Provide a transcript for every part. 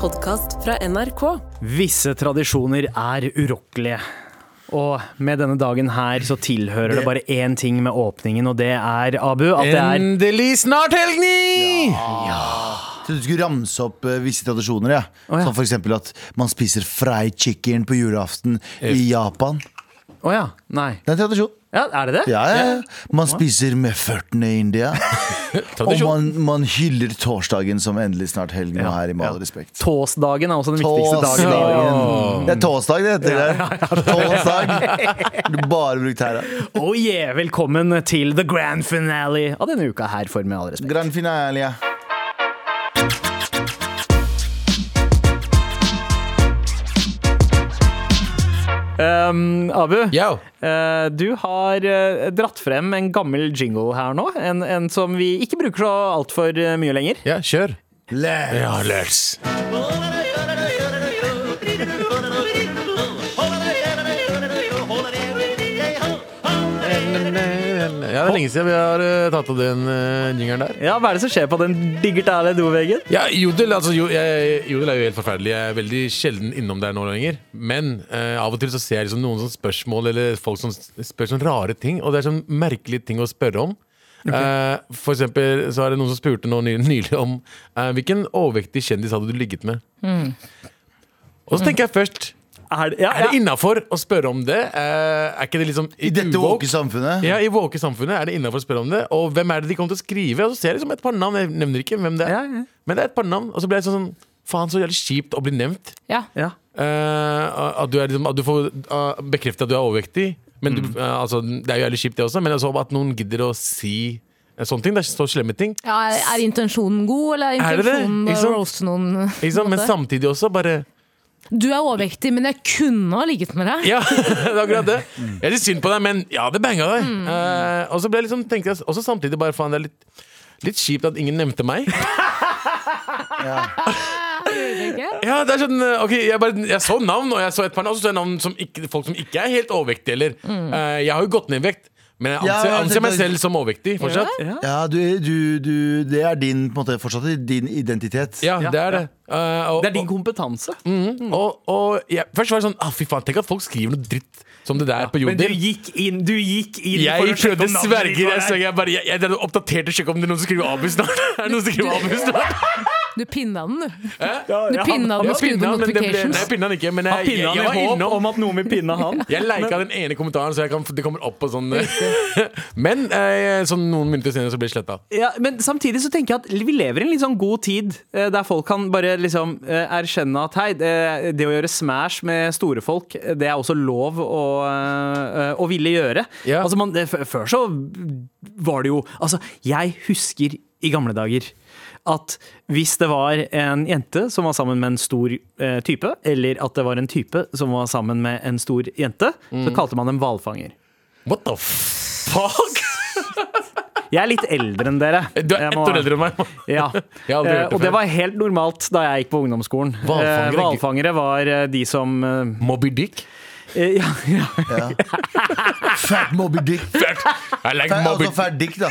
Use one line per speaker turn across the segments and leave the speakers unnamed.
podkast fra NRK.
Visse tradisjoner er urokkelige. Og med denne dagen her så tilhører det, bare én ting med åpningen, og det er, Abu, at det er
Endelig snart helgni!
trodde du skulle ramse opp eh, visse tradisjoner. Ja.
Å, ja.
Som for eksempel at man spiser fried chicken på julaften i Japan.
Å ja. Nei.
Det er en tradisjon.
Ja, er det det?
Ja, ja. ja. Man spiser med 40 i India. Og
Tradisjon.
man, man hyller torsdagen som endelig snart helgen
Ja,
og her, i med all
ja.
respekt.
Tåsdagen er også den viktigste dagen. i livet.
Det er torsdag det heter. det. Torsdag. Du bare brukt her, ja.
Oh yeah, velkommen til the grand finale av denne uka her, for med all respekt.
Grand finale. ja.
Um, Abu,
Yo.
eh, du har eh, dratt frem en gammel jingle her nå. En, en som vi ikke bruker så altfor eh, mye lenger.
Ja, kjør.
Le-
Ja, let's. Ja, det er lenge siden vi har eh, tatt av den uh, jingeren der.
Ja, Hva er det som skjer på den digitale doveggen?
Ja, Jodel, altså, jo, jeg, Jodel er jo helt forferdelig. Jeg er veldig sjelden innom der nå lenger. Men eh, av og til så ser jeg liksom noen sånne spørsmål eller folk som s- spør sånne rare ting. Og det er sånn merkelige ting å spørre om. Eh, for eksempel så er det noen som spurte nå ny, nylig om eh, hvilken overvektig kjendis hadde du ligget med. Og så tenker jeg først
Er det, ja,
Er det
ja.
innafor å spørre om det? Eh, er ikke det liksom
I dette
uvåk?
våke samfunnet.
Ja, I våke samfunnet er det innafor å spørre om det. Og hvem er det de kommer til å skrive? Og så ser jeg liksom et par navn, jeg nevner ikke hvem det er.
Ja, ja.
Men det er et par navn, og så blir jeg sånn sånn Faen, så jævlig kjipt å bli nevnt.
Ja.
Ja.
Eh, at, du er liksom, at du får uh, bekreftet at du er overvektig. Men du, eh, altså, det er jo jævlig kjipt, det også, men altså at noen gidder å si eh, sånne ting. Det er så slemme ting.
Ja, er, er intensjonen god, eller
Er
er
det det?
intensjonen
Ikke
å
sant?
roaste noen? på en
Ikke sant? Men
måte?
samtidig også bare
Du er overvektig, men jeg kunne ha ligget med deg.
Ja, det er akkurat det. Jeg er litt synd på deg, men ja, det banga deg.
Mm.
Eh, og så ble jeg liksom, tenkte jeg også samtidig bare faen, det er litt, litt kjipt at ingen nevnte meg.
ikke?
Ja, det er sånn, eh, ok, jeg, bare, jeg så navn, og jeg så et par navn, og så så jeg navn som ikke, folk som ikke er helt overvektige heller.
Mm.
Eh, jeg har jo gått ned i vekt, men jeg
Ja,
anser,
jeg
anser meg
tenkte-
selv som overvektig fortsatt.
Ja, du, du, du, det er din, på en måte, fortsatt din identitet.
Ja, det er det. Eh, og,
Det er din kompetanse.
og, og, jeg- først var det sånn ah, Fy faen, tenk at folk skriver noe dritt som det der på
Men du
Jodel.
gikk inn, du gikk inn for
Jeg
å sjekke
prøvde
om navnet
sverger.
ditt var
Jeg,
der.
sverger, jeg, bare, jeg, jeg, jeg oppdaterte å sjekke om det er noen som skriver Abu snart. Er det noen som skriver Abu snart?
Du pinna den, du.
Ja,
Du
ja, han-
pinna den og
Jeg
skrudde
pinna, men
på
det ble, nei,
notifications.
jeg pinna den ikke. Men
Han
jeg, jeg,
pinna
jeg var
i håp
innom.
om at noen vil pinne han.
Jeg lika den ene kommentaren, så jeg kan, det kommer opp på sånn Men eh, sånn noen minutter senere så blir det sletta.
Ja, men samtidig så tenker jeg at vi lever i en litt sånn god tid, eh, der folk kan bare liksom eh, erkjenne at hei, eh, det å gjøre smash med store folk, eh, det er også lov å, eh, å ville gjøre.
Ja.
Altså man, det, f- før så var det jo Altså, jeg husker i gamle dager at hvis det var en jente som var sammen med en stor eh, type, eller at det var en type som var sammen med en stor jente,
Mm.
så kalte man dem hvalfanger.
What the fuck?!
Jeg er litt eldre enn dere.
Du er
Jeg
ett
må-
år eldre enn meg.
Ja,
Jeg har aldri
Eh,
hørt det
og det
før.
var helt normalt da jeg gikk på ungdomsskolen.
Hvalfangere-
Eh, Hvalfangere var eh, de som eh,
Moby Dick.
eh, ja, ja.
Fat Moby Dick.
I like
Fer,
Moby
altså fæl dikt, da.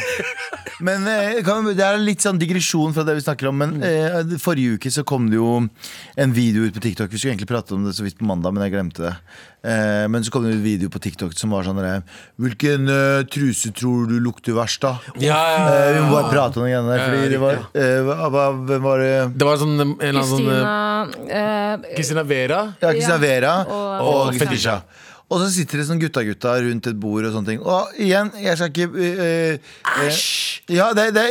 Men eh, kan, det er litt sånn digresjon fra det vi snakker om. Men eh, forrige uke så kom det jo en video ut på TikTok. Vi skulle egentlig prate om det så vidt på mandag, men jeg glemte det. Eh, men så kom det en video på TikTok som var sånn der, Hvilken eh, truse tror du lukter verst, da?
Ja,
Eh, vi
ja,
må
ja.
bare prate om de greiene der. Fordi det var, eh, hva- hva- hvem var det
Det var sånn eh, en eller annen sånn
Kristina
eh,
eh,
Christina Vera.
Ja, Christian Vera
og-
og,
og
Fetisha. Og så sitter det sånn gutta-gutta rundt et bord og sånne ting. Og igjen, jeg skal ikke Æsj! ja, det, det,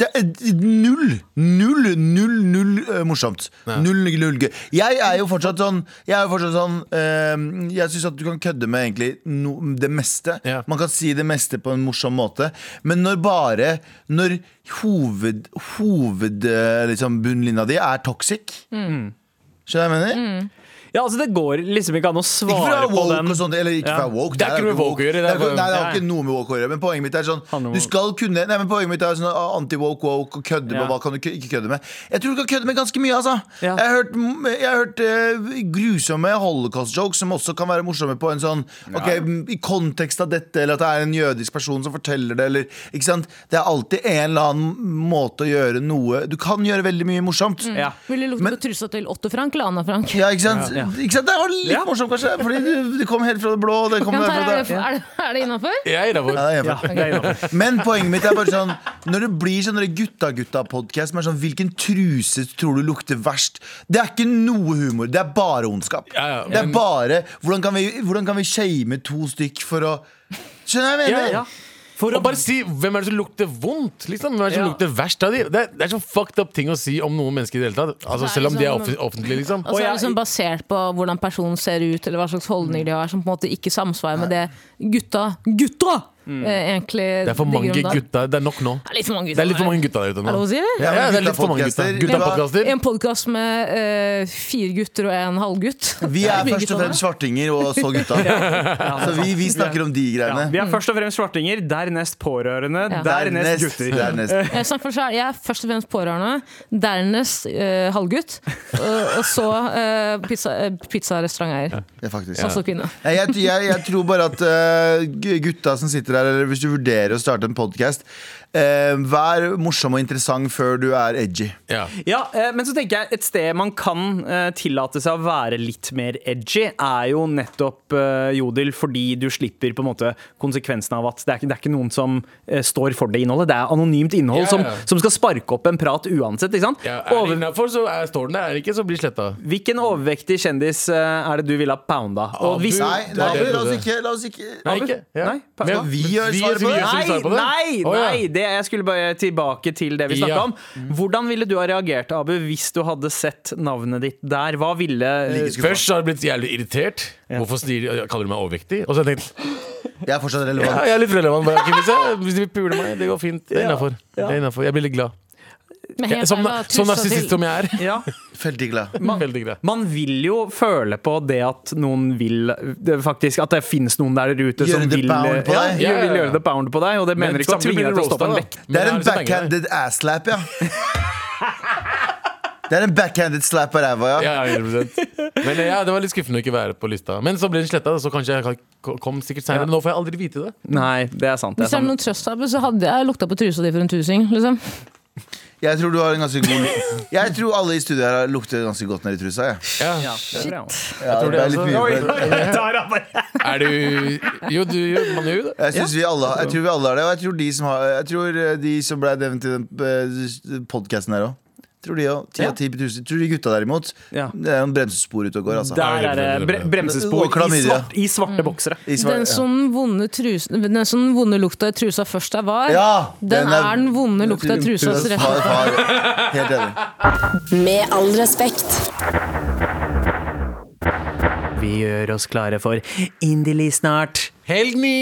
det er null, null, null, null eh, morsomt. Null, null, null gøy. Jeg er jo fortsatt sånn Jeg er jo fortsatt sånn eh, Jeg syns at du kan kødde med egentlig no, det meste.
Ja.
Man kan si det meste på en morsom måte. Men når bare Når hoved, hoved eh, liksom bunnlinja di er toxic Skjønner du hva jeg mener?
Ja, altså, det går liksom ikke an å
Ikke for å
svare
være
på
woke
den.
og sånn. sånt, eller ikke
Ja.
for å være woke.
Det er ikke
jo
noe woke å gjøre, det
Det
er
er, ikke-
bare-
nei, det har
Nei.
ikke noe med woke å gjøre. Men poenget mitt er
Handler
sånn
om-
Du skal kunne Nei, men poenget mitt er sånn ah, anti-woke, woke og kødde med
Ja.
hva kan du kø- ikke kødde med. Jeg tror du kan kødde med ganske mye, altså.
Ja.
Jeg har hørt, jeg har hørt eh, grusomme holocaust-jokes som også kan være morsomme på en sånn Ok, m, i kontekst av dette, eller at det er en jødisk person som forteller det, eller Ikke sant? Det er alltid en eller annen måte å gjøre noe Du kan gjøre veldig mye morsomt.
Mm.
Ja.
Ville lukte
Men-
på trusa til Otto Frank eller Anna Frank?
Ja, ikke sant?
Ja.
Ikke sant? Det var litt
Ja.
morsomt, kanskje, fordi det- det kom helt fra det blå. og Det kom
Kan
der,
ta-
fra
er
det.
det, er det, er det innafor?
Jeg er
Ja,
innafor.
det er
Ja,
hjemme.
det er innenfor.
Men poenget mitt er bare sånn Når det blir sånn gutta-gutta-podkast sånn, Hvilken truse tror du lukter verst? Det er ikke noe humor, det er bare ondskap.
Ja, ja,
det er
men-
bare Hvordan kan vi, hvordan kan vi shame to stykk for å Skjønner du hva jeg mener?
Ja. For
Og
å
bare si hvem er det som lukter vondt? Liksom? Hvem er det som
Ja.
lukter verst av de? Det er, det er så fucked up ting å si om noen mennesker i det hele tatt. Altså,
Det er
selv om de er
liksom-
offentlig- offentlige, liksom.
Og så
Og
er
jeg-
det liksom basert på hvordan personen ser ut, eller hva slags holdninger de har, som på en måte ikke samsvarer med det gutta Gutta! Eh, egentlig
Det er for mange
digger om dagen.
gutter. Det er nok nå.
Det er litt for mange
Det
gutter.
er litt for mange gutter der ute
Er det
nå.
lov å si det?
Ja, ja, det er litt for mange
Gutta-podcaster.
gutter. Gutta-podcaster.
En podkast med eh, fire gutter og en halvgutt.
Vi er
Mye
først og
gutter
sånn,
fremst svartinger og så gutta. Så vi, vi snakker om de
Ja, vi
greiene.
er først og fremst svartinger, dernest pårørende,
Ja.
dernest gutter.
Dernest.
Jeg, snakker for seg, jeg er først og fremst pårørende, dernest eh, halvgutt, og, og så eh, pizza- eh, pizzarestauranteier.
Ja, faktisk.
Altså kvinne.
Nei, jeg, jeg, jeg tror bare at eh, gu- gutta som sitter her, eller hvis du vurderer å starte en podkast, vær morsom og interessant før du er edgy.
Ja.
Ja, eh, men så tenker jeg et sted man kan eh, tillate seg å være litt mer edgy, er jo nettopp eh, Jodel, fordi du slipper på en måte konsekvensen av at det er, ikke- det er ikke noen som eh, står for det innholdet. Det er anonymt innhold
Ja,
som,
ja.
som skal sparke opp en prat uansett. Ikke sant?
Ja, er det
Over,
innafor, så er, står den der. Er det ikke, så blir det sletta.
hvilken overvektig kjendis eh, er det du ville ha pounda? Og
Abu.
hvis-
Nei,
Nei,
det er
la,
det jeg
la oss
trodde.
ikke, la oss ikke
Nei, ikke. Ja.
Nei, pa-
Men
Altså,
hva?
Vi gjør
vi-
svaret på
vi
det.
gjør som
Nei,
svarer på det.
nei,
Å, ja.
nei! Det jeg skulle bare tilbake til det vi snakka
Ja. Mm.
om. Hvordan ville du ha reagert, Abu, hvis du hadde sett navnet ditt der? Hva ville
Like skuffet.
Først så har jeg blitt jævlig irritert. Hvorfor sier de- kaller du meg overvektig? Og så har jeg tenkt
Jeg er fortsatt
ja,
relevant.
jeg er litt relevant. bare, ok, Hvis, jeg, hvis de vil pule meg, det går fint. Det er innafor. Jeg blir litt glad.
Men
Jeg,
helt
som
ærlig, hva
som
trusa til-
narsissist sånn- som jeg er.
ja.
Veldig glad.
Veldig glad.
Man vil jo føle på det at noen vil det faktisk, At det finnes noen der ute som
Gjøre the
vil
pound på
ja,
deg.
gjøre-
Ja, ja, ja.
vil gjøre the pound på deg. Og det mener ikke å tvinge deg til å stoppe en vekt.
Det er en backhanded ass-slap, ja. Det er en backhanded slap av ræva, ja.
Ja, ja, 100%. Men eh, ja, det var litt skuffende å ikke være på lista. Men så ble den sletta, så kanskje jeg kan- kom sikkert senere. Men Nå får jeg aldri vite det.
Nei, det er sant. Det
Hvis
er sant.
det er noen trøst her, så hadde jeg lukta på trusa di for en tusing. Liksom.
Jeg tror du har en ganske god Jeg tror alle i studio her lukter ganske godt nedi trusa. jeg.
Ja.
Det tror jeg også.
Ja,
tror
det
det
er litt
også.
mye
Oi,
for-
der er bare-
Er du Jo, du gjør man gjør jo det.
Jeg, synes vi alle, har- jeg tror vi alle har det, og jeg tror de som, har, jeg tror eh, de som ble nevnt i den podkasten eh, her òg. Tror de òg. Ti
Ja.
av ti på tusen. Tror de gutta derimot
Ja.
Det er noen bremsespor ute og går, altså.
Der er det bre bremsespor
Og klamydia.
i, svart, i svarte boksere.
I svar-
Den som vonde, trus, den som vonde lukta i trusa først er var,
Ja,
den, er, den vonde lukta i trusa.
Trusas
så rett-
far, far. Helt enig.
Med all respekt.
Vi gjør oss klare for Indily snart.
Helg ni!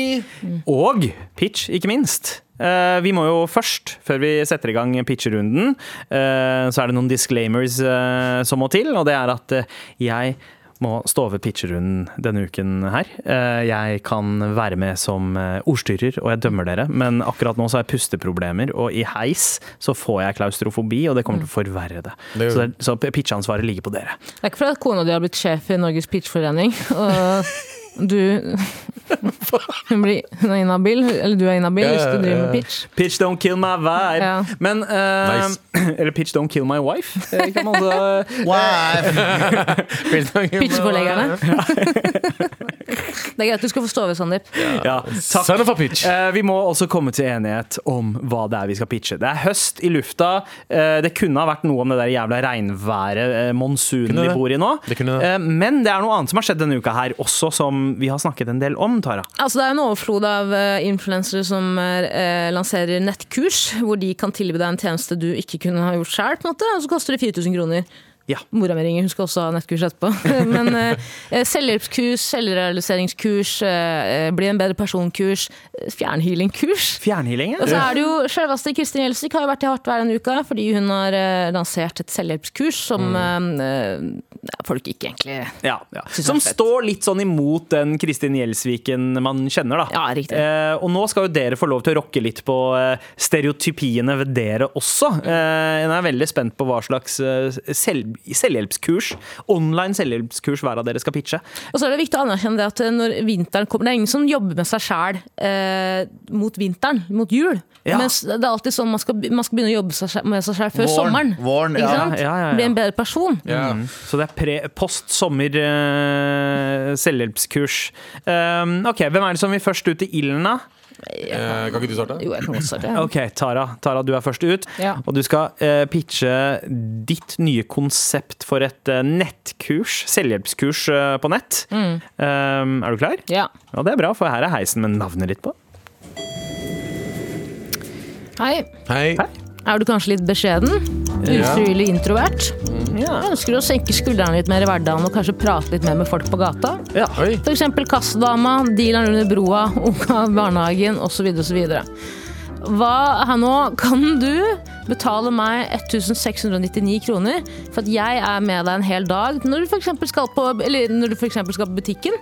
Og pitch, ikke minst. Eh, vi må jo først, før vi setter i gang pitcherunden, eh, så er det noen disclaimers eh, som må til. Og det er at eh, jeg må stå over pitcherunden denne uken her. Eh, jeg kan være med som eh, ordstyrer, og jeg dømmer dere. Men akkurat nå så har jeg pusteproblemer, og i heis så får jeg klaustrofobi, og det kommer til å forverre det.
Det
Så,
gjør
det så pitcheansvaret ligger på dere.
Det er ikke fordi at kona di har blitt sjef i Norges Pitchforening. Og du Hun blir hun er inhabil, eller du er inhabil
Ja,
hvis du driver
ja.
med pitch.
Pitch don't kill my vibe.
Ja.
Men eh,
Nice.
Eller pitch don't kill my wife. eh, Kan man også,
Wow.
Pitchforleggerne. Det er greit, du skal få stå ved, Sandeep.
ja, takk.
Son of a pitch.
Eh, vi må også komme til enighet om hva det er vi skal pitche. Det er høst i lufta. Eh, det kunne ha vært noe om det der jævla regnværet, eh, monsunen
Kunne
vi
det.
bor i nå.
Det kunne det.
Eh, men det er noe annet som har skjedd denne uka her også, som vi har snakket en del om, Tara.
Altså, det er en overflod av eh, influensere som eh, lanserer nettkurs, hvor de kan tilby deg en tjeneste du ikke kunne ha gjort sjøl, og så koster det 4000 kroner.
Ja.
Mora mi ringer, hun skal også ha nettkurs etterpå. Men eh, eh, selvhjelpskurs, selvrealiseringskurs, eh, eh, bli en bedre person-kurs, eh, fjernhealing-kurs.
Fjernhealing,
Og så
ja.
er det jo Selveste Kristin Gjelsvik har jo vært i hardt vær denne uka fordi hun har eh, lansert et selvhjelpskurs som
Mm.
eh, eh, folk ikke egentlig
Ja, ja. Som står litt sånn imot den Kristin Gjelsviken man kjenner, da.
Ja, riktig.
Eh, og nå skal jo dere få lov til å rocke litt på eh, stereotypiene ved dere også. Eh, jeg er veldig spent på hva slags eh, selv, selvhjelpskurs, online selvhjelpskurs, hver av dere skal pitche.
Og så er det viktig å anerkjenne det at eh, når vinteren kommer Det er ingen som jobber med seg sjæl eh, mot vinteren, mot jul.
Ja.
Men s- det er alltid sånn man skal, be- man skal begynne å jobbe seg, selv- med seg sjæl før sommeren.
Våren, våren,
Ikke
ja.
sant?
Ja, ja, ja.
Bli en bedre person.
Ja.
Mm. Så det er pre, post sommer eh, selvhjelpskurs. Um, ok, Hvem er det som vil først ut i ilden, da?
Eh, kan ikke du starte?
Jo, jeg kan godt starte.
Ok, Tara, Tara, du er først ut.
Ja.
Og du skal eh, pitche ditt nye konsept for et eh, nettkurs, selvhjelpskurs eh, på nett. Um, er du klar?
Mm. Ja.
Ja, det er bra, for her er heisen med navnet ditt på.
Hei.
Hei.
Er du kanskje litt beskjeden? Ufrivillig introvert?
Ja.
Ønsker du å senke skuldrene litt mer i hverdagen og kanskje prate litt mer med folk på gata?
Ja.
Oi.
For eksempel kassadama, dealeren under broa, unga i barnehagen osv. osv. Hva her nå kan du betale meg 1699 kroner for at jeg er med deg en hel dag når du for eksempel skal på, eller når du for eksempel skal på butikken?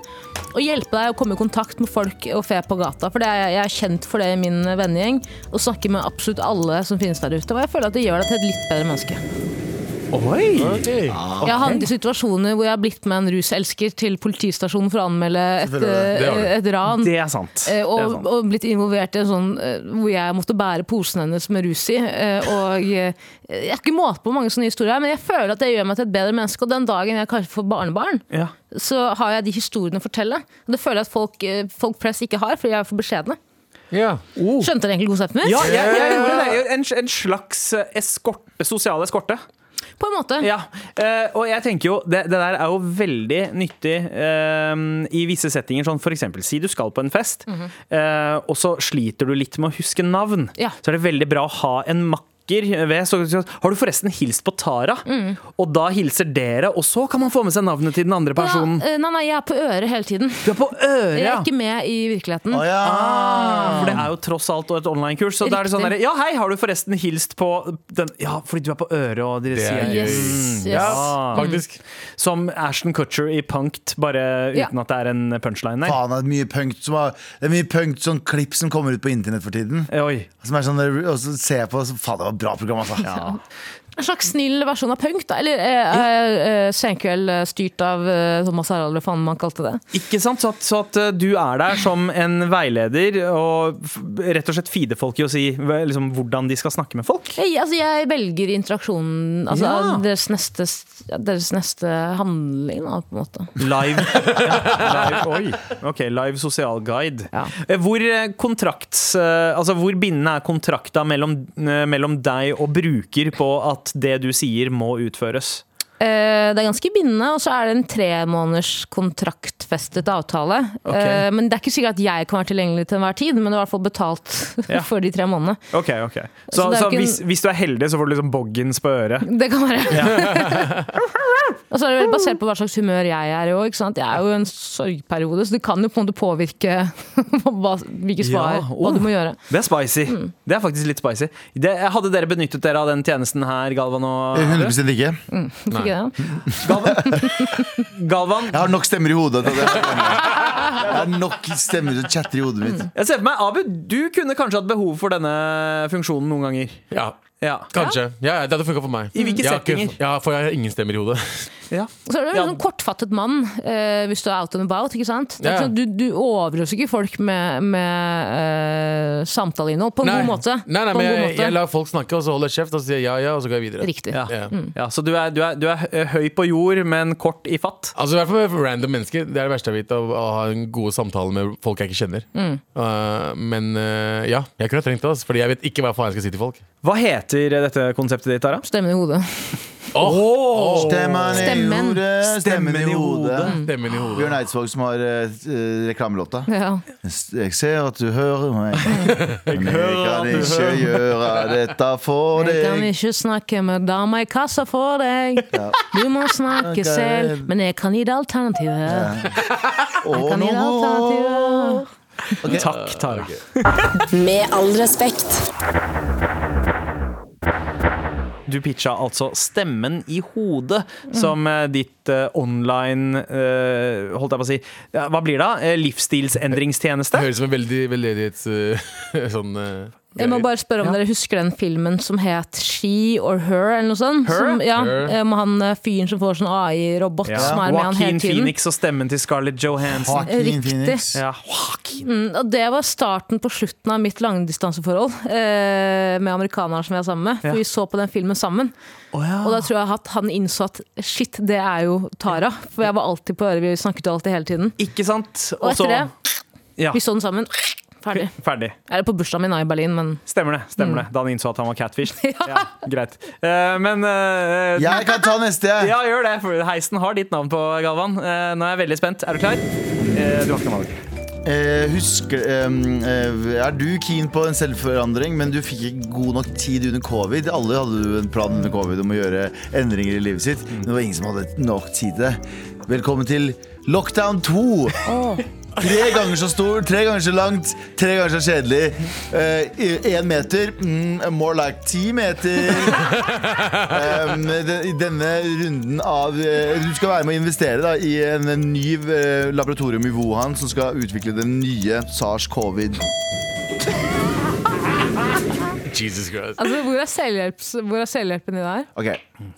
Og hjelpe deg å komme i kontakt med folk og fe på gata. For det er, jeg er kjent for det i min vennegjeng. Og snakker med absolutt alle som finnes der ute. Og jeg føler at det gjør deg til et litt bedre menneske.
Oi!
Ok.
Jeg har havnet i situasjoner hvor jeg har blitt med en ruselsker til politistasjonen for å anmelde et,
Selvfølgelig.
Det har du.
eh, et ran.
Det er sant.
Eh,
det er
Og,
sant.
og blitt involvert i en sånn eh, hvor jeg måtte bære posen hennes med rus i. eh, Og eh, jeg har ikke måte på hvor mange sånne historier, her, men jeg føler at det gjør meg til et bedre menneske. Og den dagen jeg kanskje får barnebarn,
Ja.
så har jeg de historiene å fortelle. Og det føler jeg at folk, eh, folk flest ikke har, fordi jeg er for beskjedne.
Ja.
Oh.
Skjønte dere egentlig konseptet mitt?
Ja, jeg, jeg gjorde det. En, en slags eh, eskorte, sosial eskorte.
På en måte.
Ja, eh, og jeg tenker jo det, det der er jo veldig nyttig eh, i visse settinger. Sånn for eksempel, si du skal på en fest,
Mhm.
eh, og så sliter du litt med å huske navn.
Ja.
Så er det veldig bra å ha en makker ved. Så, så, har du forresten hilst på Tara?
Mm.
Og da hilser dere, og så kan man få med seg navnet til den andre
Ja,
personen.
eh, nei, nei, jeg er på øret hele tiden.
Du er på øret!
Jeg
ja.
er ikke med i virkeligheten.
Å ja.
Ah.
For det er jo tross alt et online-kurs. Så da er det sånn
Riktig.
der, Ja, hei, har du forresten hilst på den Ja, fordi du er på øret, og dere
Det er
sier
gøy.
Yes, yes. Mm.
Ah.
Faktisk.
Som Ashton Kutcher i Punkt, bare
Ja.
uten at det er en punchline der.
Faen, det er mye punkt som har, Det er mye punkt sånn klipp som kommer ut på internett for tiden.
Oi.
Som er sånn, der- og så ser jeg på, så, faen, det var et bra program, altså.
En slags snill versjon av punk, da. Eller eh, eh, Senkveld eh, styrt av eh, Thomas Harald, eller hva faen man kalte det.
Ikke sant? Så at, så at eh, du er der som en veileder og f- rett og slett feeder folk i å si hva- liksom, hvordan de skal snakke med folk.
Jeg, altså, jeg velger interaksjonen, altså
Ja.
deres, neste, deres neste handling, da, på en måte.
Live. Ja, live. Oi. Ok, live sosial guide.
Ja.
Eh, Hvor, eh, kontrakts, eh, altså, hvor bindende er kontrakta mellom, eh, mellom deg og bruker på at det du sier må utføres?
Eh, det er ganske bindende, og så er det en tremåneders kontraktfestet avtale.
Ok.
Eh, men det er ikke sikkert at jeg kan være tilgjengelig til enhver tid, men det er i hvert fall betalt
Ja.
for de tre månedene.
Ok, ok. Så,
Så Altså, det er
så
ikke en-
hvis, hvis du er heldig, så får du liksom boggins på øret.
Det kan være. og så er det vel basert på hva slags humør jeg er i òg. Jeg er jo i en sorgperiode, så det kan jo på en måte påvirke hva, hvilke svar
Ja,
hva
oh.
du må gjøre.
Det er spicy. Det er faktisk litt spicy. Det, hadde dere benyttet dere av den tjenesten her, Galvan og
100 ikke.
Fikk jeg det?
Galvan,
Jeg har nok stemmer i hodet til det. Jeg har nok stemmer som chatter i hodet mitt.
Mm.
jeg ser for meg Abu, du kunne kanskje hatt behov for denne funksjonen noen ganger.
Ja.
Ja.
Kanskje. Ja, ja, det hadde funka for meg.
I hvilke
Jeg har ikke-
settinger?
Ja, for jeg har ingen stemmer i hodet.
ja.
Og Så er du en
Ja.
sånn kortfattet mann eh, hvis du er out and about. ikke sant? Det er
Ja.
ikke sånn, du, du overøser ikke folk med, med eh, samtaleinnhold på en
Nei.
god måte.
Nei, nei,
på
men
en
jeg,
god
jeg
måte.
lar folk snakke, og så holder jeg kjeft, og så sier jeg ja, ja, og så går jeg videre.
Riktig.
Ja.
Ja.
ja, Så du er, du, er, du er hø- høy på jord, men kort i fatt.
Altså i hvert fall med random mennesker Det er det verste jeg vet, å, å ha en gode samtale med folk jeg ikke kjenner.
Mm.
Uh, men uh, ja, jeg kunne ha trengt det, altså, Fordi jeg vet ikke hva faen jeg skal si til folk.
Hva heter dette konseptet ditt, Tara?
Stemmen i hodet.
Å,
Stemmen i
Stemmen.
hodet, stemmen i hodet.
Stemmen i hodet.
Bjørn Eidsvåg som har eh, eh, reklamelåta.
Ja.
Jeg ser at du hører meg, men jeg kan ikke gjøre dette for
Jeg kan
deg.
ikke snakke med dama i kassa for deg. Du må snakke
Ok.
selv, men jeg kan gi deg alternativer.
Å,
Kan
nå
gi deg alternativer.
Takk, Tara.
Med all respekt.
Du pitcha altså Stemmen i hodet som eh, ditt eh, online eh, Holdt jeg på å si ja, Hva blir det? da? Eh, livsstilsendringstjeneste?
Det høres ut som en veldig veldedighets... Uh, sånn eh,
Jeg må
greie.
bare spørre om dere husker den filmen som het She or Her, eller noe sånt?
Her?
Som, ja,
Her.
eh, med han eh, fyren som får sånn AI-robot
Ja.
som er med han hele
Joaquin
tiden.
Phoenix og stemmen til Scarlett Johansson.
Joaquin
Riktig.
Phoenix.
Ja, Joaquin.
Mm, Og det var starten på slutten av mitt langdistanseforhold eh, med amerikaneren som jeg er sammen med. For
Ja.
vi så på den filmen sammen.
Å ja.
Mm. Og da tror jeg at han innså at shit, det er jo Tara. For jeg var alltid på øret, vi snakket jo alltid hele tiden.
Ikke sant?
Og etter det,
ja,
vi så den sammen. Ferdig.
ferdig.
Er det Mm. på bursdagen min da, i Berlin, men
Stemmer det. stemmer det Da han innså at han var catfish. Ja, greit. Eh, men eh,
Jeg kan ta neste. jeg.
Ja, gjør det. For heisen har ditt navn på, Galvan. Eh, nå er jeg veldig spent. Er du klar? Eh, du har ikke noe valg.
Eh, husker, ehm, eh, er du keen på en selvforandring, men du fikk ikke god nok tid under covid? Alle hadde jo en plan under covid om å gjøre endringer i livet sitt, men det var ingen som hadde nok tid til det. Velkommen til Lockdown 2! Tre ganger så stor, tre ganger så langt, tre ganger så kjedelig. Én meter, mm, more like ti meter. Ehm, de- I denne runden av eh, Du skal være med å investere da, i en ny eh, laboratorium i Wuhan som skal utvikle den nye SARS-covid.
Jesus Christ.
altså, hvor, er selvhjelps- hvor er selvhjelpen i det her?
Ok,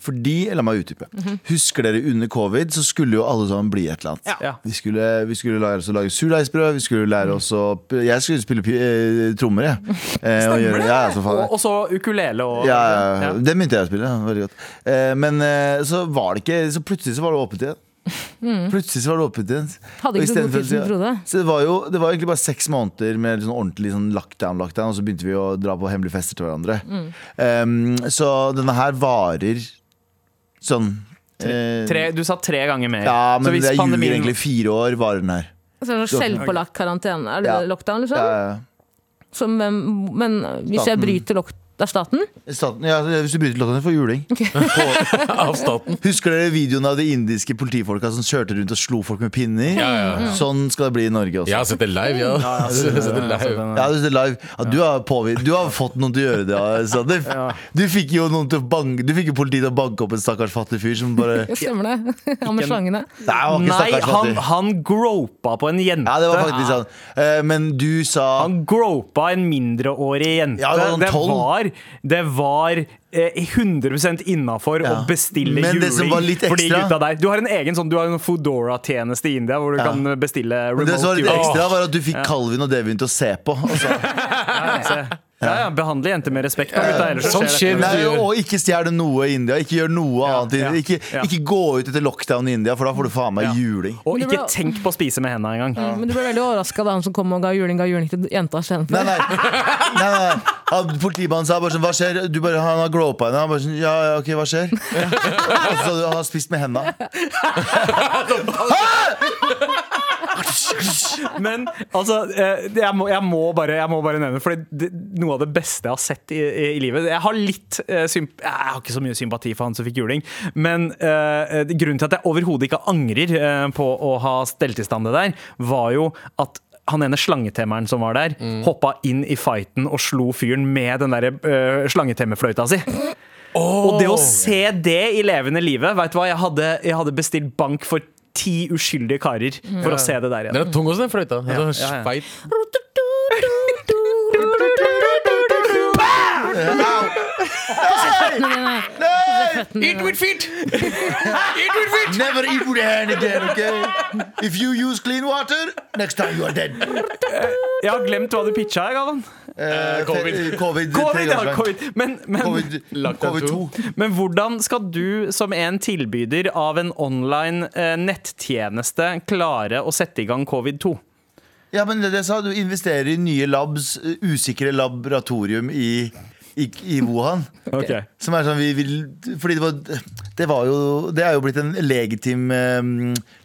fordi, La meg utdype. Husker dere under covid så skulle jo alle sammen bli et eller annet.
Ja.
Vi, skulle, vi skulle lære oss å lage surdeigsbrød. Vi skulle lære oss å Jeg skulle spille pi- eh, trommer, jeg. Eh, og gjøre- ja, altså, faen.
Og, og så ukulele og
ja, ja, ja. Den begynte jeg å spille. ja, Veldig godt. Eh, men eh, så var det ikke Så plutselig så var det åpent igjen.
Mm.
Plutselig så var det åpent igjen.
Hadde
Og
ikke så god
istedenfor-
tid som du trodde.
Så det var jo det var egentlig bare seks måneder med sånn ordentlig sånn lockdown, lockdown, og så begynte vi å dra på hemmelige fester til hverandre.
Mm.
Um, så denne her varer sånn eh,
Tre, du sa tre ganger mer.
Ja, men
så hvis
det er jo
pandemien-
egentlig fire år varer den her.
Altså, en sånn selvpålagt karantene? Er det
Ja.
det lockdown, liksom?
Ja, ja.
Som, hvem- men hvis jeg
Staten.
bryter lock... Det er staten?
Staten, ja, altså, hvis du bryter lockdown, får du juling.
Av staten.
Husker dere videoen av de indiske politifolka som kjørte rundt og slo folk med pinner?
Mm.
Sånn skal det bli i Norge også.
Jeg
Ja.
har sett det live, ja. Jeg har sett det live.
du, ser live. Ja, du, har påvirket, du har fått noen til å gjøre det, Sander. Du fikk jo noen til å banke Du fikk jo politiet til å banke opp en stakkars fattig fyr som bare Nei,
Stemmer det? Han med slangene.
han var ikke
Nei,
stakkars
han,
fattig.
han gropa på en jente.
Ja, det var faktisk han. Eh, Men du sa
Han gropa en mindreårig jente.
Ja, det var sånn
det
12.
var, det var eh, 100 innafor å
Ja.
bestille
Men
juling
det som var litt
for de
ekstra-
gutta der. Du har en egen sånn, du har en Foodora-tjeneste i India hvor du
Ja.
kan eh, bestille
Det
remote
som var litt
juling.
ekstra, var at du fikk Calvin og Devin til å se på. altså. Og, så,
Ja, se. ja, ja, behandle jenter med respekt. Da, gutta, ellers så
Sånn
skjer
skjer
dette.
nei,
gjør.
og ikke stjele noe i India. Ikke gjør noe annet. i-
ja,
Ikke,
ja.
ikke gå ut etter lockdown i India, for da får du faen meg
Ja.
juling.
Og
Men det
ikke
ble-
tenk på å spise med henda engang.
Men du ble veldig overraska da han som kom og ga juling, ga juling til jenta
Nei,
istedenfor.
nei, nei, nei. Han, Politimannen sa bare sånn Hva skjer? Du bare, han har gråpa henne. Han bare sånn Ja, ja, ok, hva skjer? Og så han har spist med henda.
Men altså, eh, det- jeg må, jeg må, bare, jeg må bare nevne For det, noe av det beste jeg har sett i, i, i livet Jeg har litt eh, symp Jeg har ikke så mye sympati for han som fikk juling Men eh, det- grunnen til at jeg overhodet ikke angrer eh, På å ha stelt i stand det der Var jo at han ene slangetemmeren som var der Hoppa inn i fighten og slo fyren Med den der eh, slangetemmefløyta si Og det å se det i levende livet Vet du hva, jeg hadde, jeg hadde bestilt bank for Ti uskyldige karer for å se det der igjen
Den er tung også, den fløyta. Den er sånn så
ja, ja.
feit.
It with feet! Eat with feet! Never eat with hand again, ok? If you use clean water, next time you are dead.
Jeg har glemt hva du pitcha her, Galvan.
Eh,
covid.
te- Covid,
Covid,
tre ganger
ja,
så langt.
covid. Men, men,
Covid,
Lockdown
covid 2.
men hvordan skal du som en tilbyder av en online eh, nettjeneste klare å sette i gang covid-2?
Ja, men det, det sa du investerer i nye labs, eh, usikre laboratorium i, i, i Wuhan.
Okay.
Som er sånn vi vil Fordi det var, det var jo Det er jo blitt en legitim eh,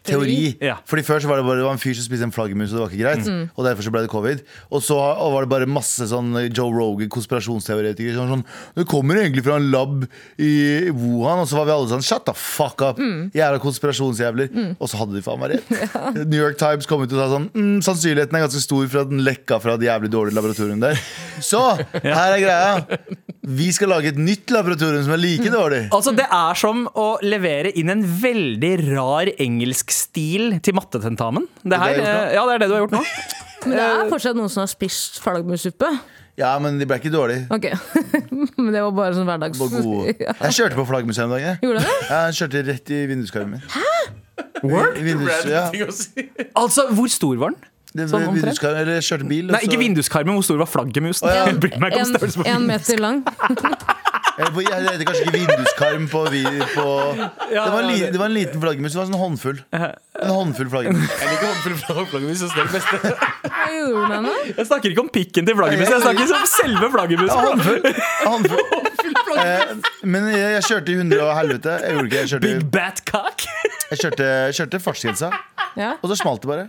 teori.
Ja.
Fordi før så var det bare det var en fyr som spiste en flaggermus, og det var ikke greit. Og derfor så ble det covid. Og så og var det bare masse sånn Joe Rogan, konspirasjonsteoretikere. Sånn, sånn Det kommer egentlig fra en lab i Wuhan, og så var vi alle sånn Shut the fuck up! Jævla konspirasjonsjævler. Og så hadde de faen meg rett. New York Times kom ut og sa sånn mm, Sannsynligheten er ganske stor for at den lekka fra det jævlig dårlige laboratoriet der. Så her er greia. Vi skal lage et nytt laboratorium som er like dårlig.
Altså, Det er som å levere inn en veldig rar engelsk stil til mattetentamen. Det, her,
Det er det jeg
eh, ja,
har gjort nå.
det er det du har gjort nå.
Men det
eh,
er fortsatt noen som har spist flaggermussuppe.
Ja, men de ble ikke dårlige.
Ok, Men det var bare sånn hverdags...
Bare gode.
Ja.
Jeg kjørte på flaggermuseet en dag. Jeg.
Gjorde du det?
Ja, Jeg kjørte rett i vinduskarmen min. I Vindus, ja.
Ting å si.
Altså, Hvor stor var den?
Det
Sånn
ble
omtrent?
vinduskarmen, eller jeg kjørte bil. og
Nei,
så-
Ikke vinduskarmen, hvor stor var flaggermusen?
ja.
Jeg bryr meg ikke om
En,
størrelsen på
en
den.
meter lang.
Jeg, jeg, det heter kanskje ikke vinduskarm på, vi- på det, var en, li- det var en liten flaggermus. Det var en sånn håndfull. En håndfull flaggermus.
Jeg liker håndfull fra flaggermus. så det er det beste.
Hva gjorde du med henne?
Jeg snakker ikke om pikken til flaggermusen, jeg snakker om selve
Ja,
flaggermusen.
håndfull. En håndfull. Eh, men jeg, jeg kjørte i hundre og helvete. Jeg gjorde ikke Jeg kjørte,
Big bat cock.
jeg kjørte, jeg kjørte fartsgrensa,
Ja.
og så smalt det bare.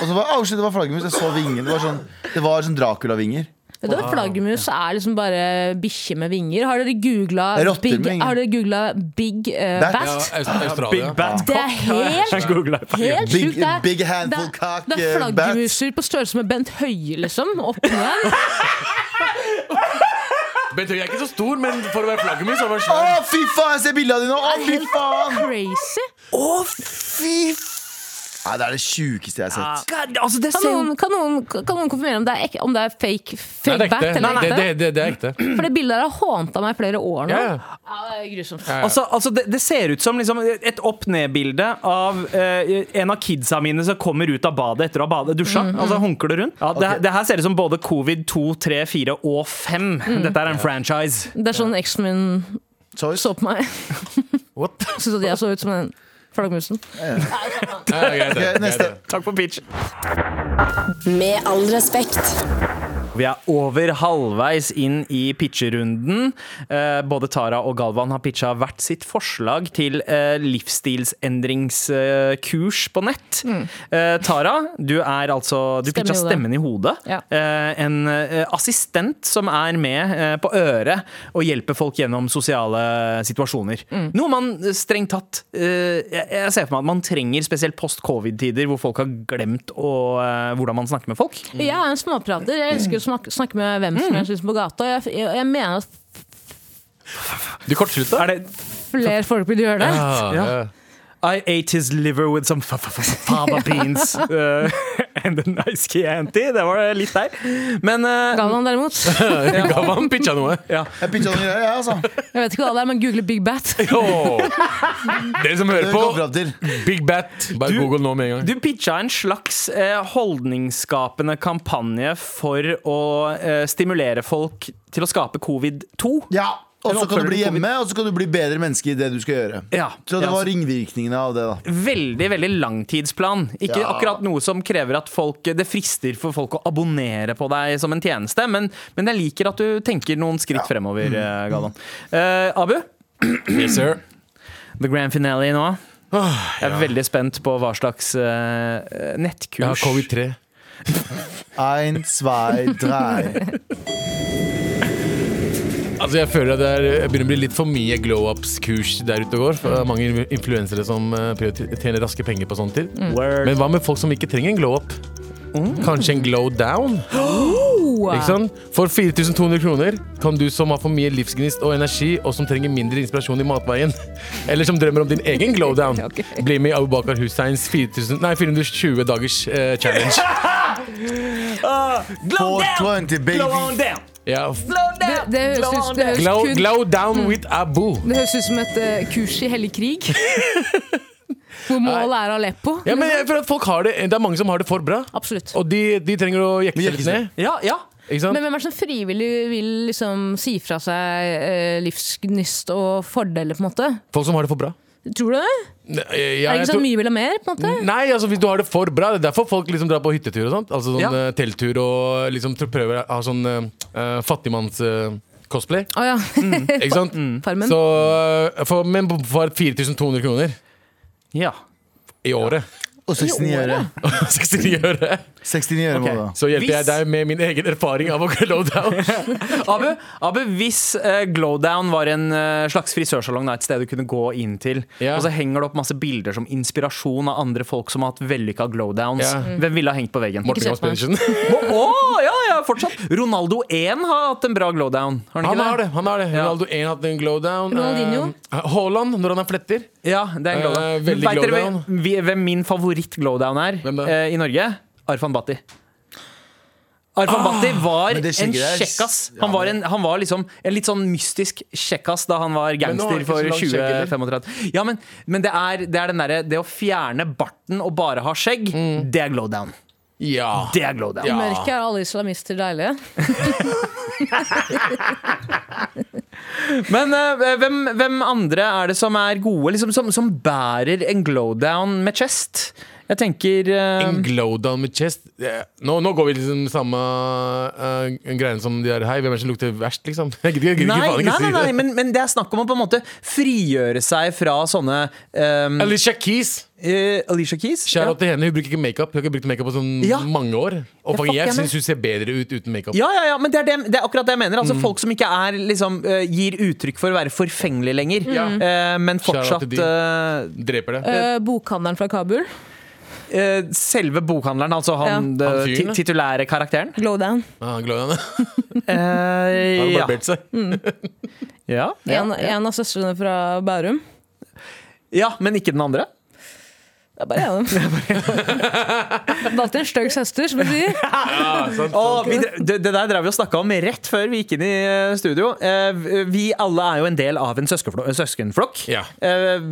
Og så var oh, shit, det var flaggermus. Jeg så vingen. Det var sånn, det var sånn Dracula-vinger.
Vet du, hva, Flaggermus er liksom bare bikkje med vinger. Har dere
Rotter
googla Big,
med vinger.
har dere googlet big eh,
Bat?
Ja,
Bat?
Aust- Australia.
Big bat
Det er
cock. har jeg
helt-
googlet.
Helt
Big-
sjukt. Det er-
big handful
det er-
cock,
Det
eh,
er
bat.
flaggermuser på størrelse med Bent Høie, liksom. Opp ned.
Bent Høie er ikke så stor, men for å være flaggermus har han
Å,
vært svær.
fy faen! Jeg ser bilde av dem nå! Å, fy faen!
Crazy.
Nei, det er det sjukeste jeg har sett.
God, altså, det
Kan
ser jo
noen, kan noen, kan noen konfirmere om det er, ek- om det er fake,
Nei,
fake
det er
bat
ekte.
eller
Det,
ekte?
det, det, det er ekte.
For det bildet der har hånta meg i flere år nå.
Ja,
Ja,
ja.
det er grusomt.
Ja, ja.
Altså, altså det, det ser ut som liksom et opp-ned-bilde av eh, en av kidsa mine som kommer ut av badet etter å ha badet dusja.
Mhm.
Altså hunker det rundt. Ja, det,
Ok.
det her ser ut som både covid 2, 3, 4 og 5.
Mhm.
Dette er en franchise.
Det er sånn eksen min
Sorry.
så på meg.
What?
Syns at jeg så ut som den flaggermusen.
Ja, ja, greit, det,
Ok,
greit,
neste.
det.
Takk for pitch.
Med all respekt.
Vi er over halvveis inn i pitcherunden. Eh, både Tara og Galvan har pitcha hvert sitt forslag til eh, livsstilsendringskurs på nett. Eh, Tara, du er altså Du
Stemme i
pitcha
hodet.
stemmen i hodet.
Ja.
Eh, en eh, assistent som er med eh, på øret og hjelper folk gjennom sosiale situasjoner. Noe man eh, strengt tatt eh, jeg, jeg ser for meg at man trenger spesielt post covid-tider hvor folk har glemt å, eh, hvordan man snakker med folk.
Mm.
Jeg er en småprater. Jeg elsker å snakke, snakke med hvem som helst ute på gata. og Jeg, jeg, jeg mener at
Du kortslutta?
Er det
flere folk burde gjøre det.
ja.
Ja. I ate his liver with some fa- fa- fa- fava beans uh, and a nice Chianti. Det var litt der. Men uh,
Galvan derimot. Jeg
Gavan pitcha noe.
ja.
Jeg pitcha noen greier, jeg, altså.
vet ikke hva det er, men google Big Bat.
Åh. Dere som
Det
hører
vi kom
på,
fram til.
Big Bat. Bare
Du-
google nå med en gang.
Du pitcha en slags eh, holdningsskapende kampanje for å eh, stimulere folk til å skape covid-2.
Ja, og
En
så kan du
oppfølger
bli
til covid.
hjemme, og så kan du bli bedre menneske i det du skal gjøre.
Ja. Ja,
Så det
altså.
var
så-
ringvirkningene av det, da.
Veldig veldig langtidsplan. Ikke
Ja.
akkurat noe som krever at folk Det frister for folk å abonnere på deg som en tjeneste, men, men jeg liker at du tenker noen skritt fremover, eh, Galvan. Eh, Abu?
Yes, sir.
The grand finale nå. Jeg er veldig spent på hva slags eh, nettkurs
Jeg har covid-3.
Ein, zwei, drei.
Altså jeg føler at det er, jeg begynner å bli litt for mye glow-ups-kurs der ute og går. For det er mange influensere som eh, prøver å tjene raske penger på sånt til.
Word.
Men hva med folk som ikke trenger en glow-up? Kanskje en glow-down? Ikke sant? For 4200 kroner kan du som har for mye livsgnist og energi, og som trenger mindre inspirasjon i matveien, eller som drømmer om din egen glow-down,
Ok.
bli med i Abubakar Husseins 4000, nei, 420 dagers eh, challenge.
Glow down! Glow
420, baby.
on down!
Ja.
Glow
Det,
down!
det
Glow
høres
on
ut, det
down!
høres
Glow,
kun,
glow
Mm.
down with Abu.
det høres ut som et eh, kurs i hellig krig. Hvor målet er Aleppo.
Ja, men jeg føler at folk har det, det er mange som har det for bra.
Absolutt.
Og de, de trenger å jekke
Men
seg
jekke
litt ned.
Ja, ja.
Ikke sant?
Men hvem er det som frivillig vil liksom si fra seg eh, livsgnist og fordeler, på en måte?
Folk som har det for bra.
Tror du det?
Ne-
er
jeg
det ikke
tror-
sånn mye vil ha mer, på en måte?
Nei, altså hvis du har det for bra. Det er derfor folk liksom drar på hyttetur og sånt. Altså sånn
Ja.
eh, telttur og liksom tr- prøver å ha sånn uh, eh, fattigmanns... eh, cosplay.
Å ja.
Ikke sant?
Mm. Farmen.
Så, øh, for, men for 4200 kroner
Ja.
i året.
Og 69 øre.
69 øre.
69 øre må
Ok.
du ha.
Så hjelper
Hvis-
jeg deg med min egen erfaring av å gå lowdown.
Abu, Abu hvis eh, Glowdown var en eh, slags frisørsalong, da, et sted du kunne gå inn til,
Ja.
og så henger det opp masse bilder som inspirasjon av andre folk som har hatt vellykka glowdowns,
Ja.
hvem ville ha hengt på veggen?
Morten Gams
sett meg.
Pedersen.
Å, å, ja, ja, fortsatt. Ronaldo 1 har hatt en bra glowdown. Har han ikke
Han har det. han har det Ronaldo 1 hatt en glowdown.
Ronaldinho.
Eh, Haaland, når han har fletter.
Ja, det er en
Eh,
glowdown.
veldig
Vet dere
glowdown.
hvem- vi- hvem min favoritt-glowdown er
Hvem da?
eh, i Norge? Arfan Bhatti. Arfan
Ah,
Bhatti var en
men det skjegget der-
kjekkas.
ja,
Han var, en, han var liksom en litt sånn mystisk kjekkas da han var
nå har
gangster
han ikke
for
så langt skjegg, eller?
20-35. Ja, men, men det er, det er den derre Det å fjerne barten og bare ha skjegg, det er glowdown.
Ja.
Det er glowdown.
Mm. Ja.
Mørket er alle islamister deilige.
Men eh, hvem, hvem andre er det som er gode, liksom, som, som bærer en glowdown med chest? Jeg tenker eh,
En glowdown med chest. Eh, Nå, nå går vi liksom samme uh, greien som de der Hei, hvem er det som lukter verst, liksom? Jeg gidder ikke
Nei,
faen
nei,
ikke
nei,
si
nei
det.
men, men det er snakk om å på en måte frigjøre seg fra sånne um,
Alicia Keys.
Alicia Keys.
Shout
Ja.
out til henne. Hun bruker ikke makeup. Hun har ikke brukt makeup på sånn
Ja.
mange år.
Ja,
Og
fuck
fucking, jeg
henne.
syns hun ser bedre ut uten makeup.
Ja, ja, ja, men det er, det, det er akkurat det jeg mener.
Mm.
Altså Folk som ikke er, liksom, eh, gir uttrykk for å være forfengelige lenger, eh, men
Shout out
fortsatt
til de. Dreper det.
Eh, bokhandleren fra Kabul.
eh, eh, Selve bokhandleren, altså han, eh,
Ja. Han fyren,
ti-
da.
titulære karakteren.
Glowdown.
Ah, glowdown. Har
Eh,
hun
ja.
barbert seg?
Ja, ja,
En,
ja.
en av søstrene fra Bærum.
ja, men ikke den andre?
Det er bare en av dem. Valgte en stygg søster, som du sier.
Sånn.
Å, vi, dre- det, det der drev vi og snakka om rett før vi gikk inn i eh, studio. Eh, Vi alle er jo en del av en søskenflokk. søskenflokk.
Ja.
Eh,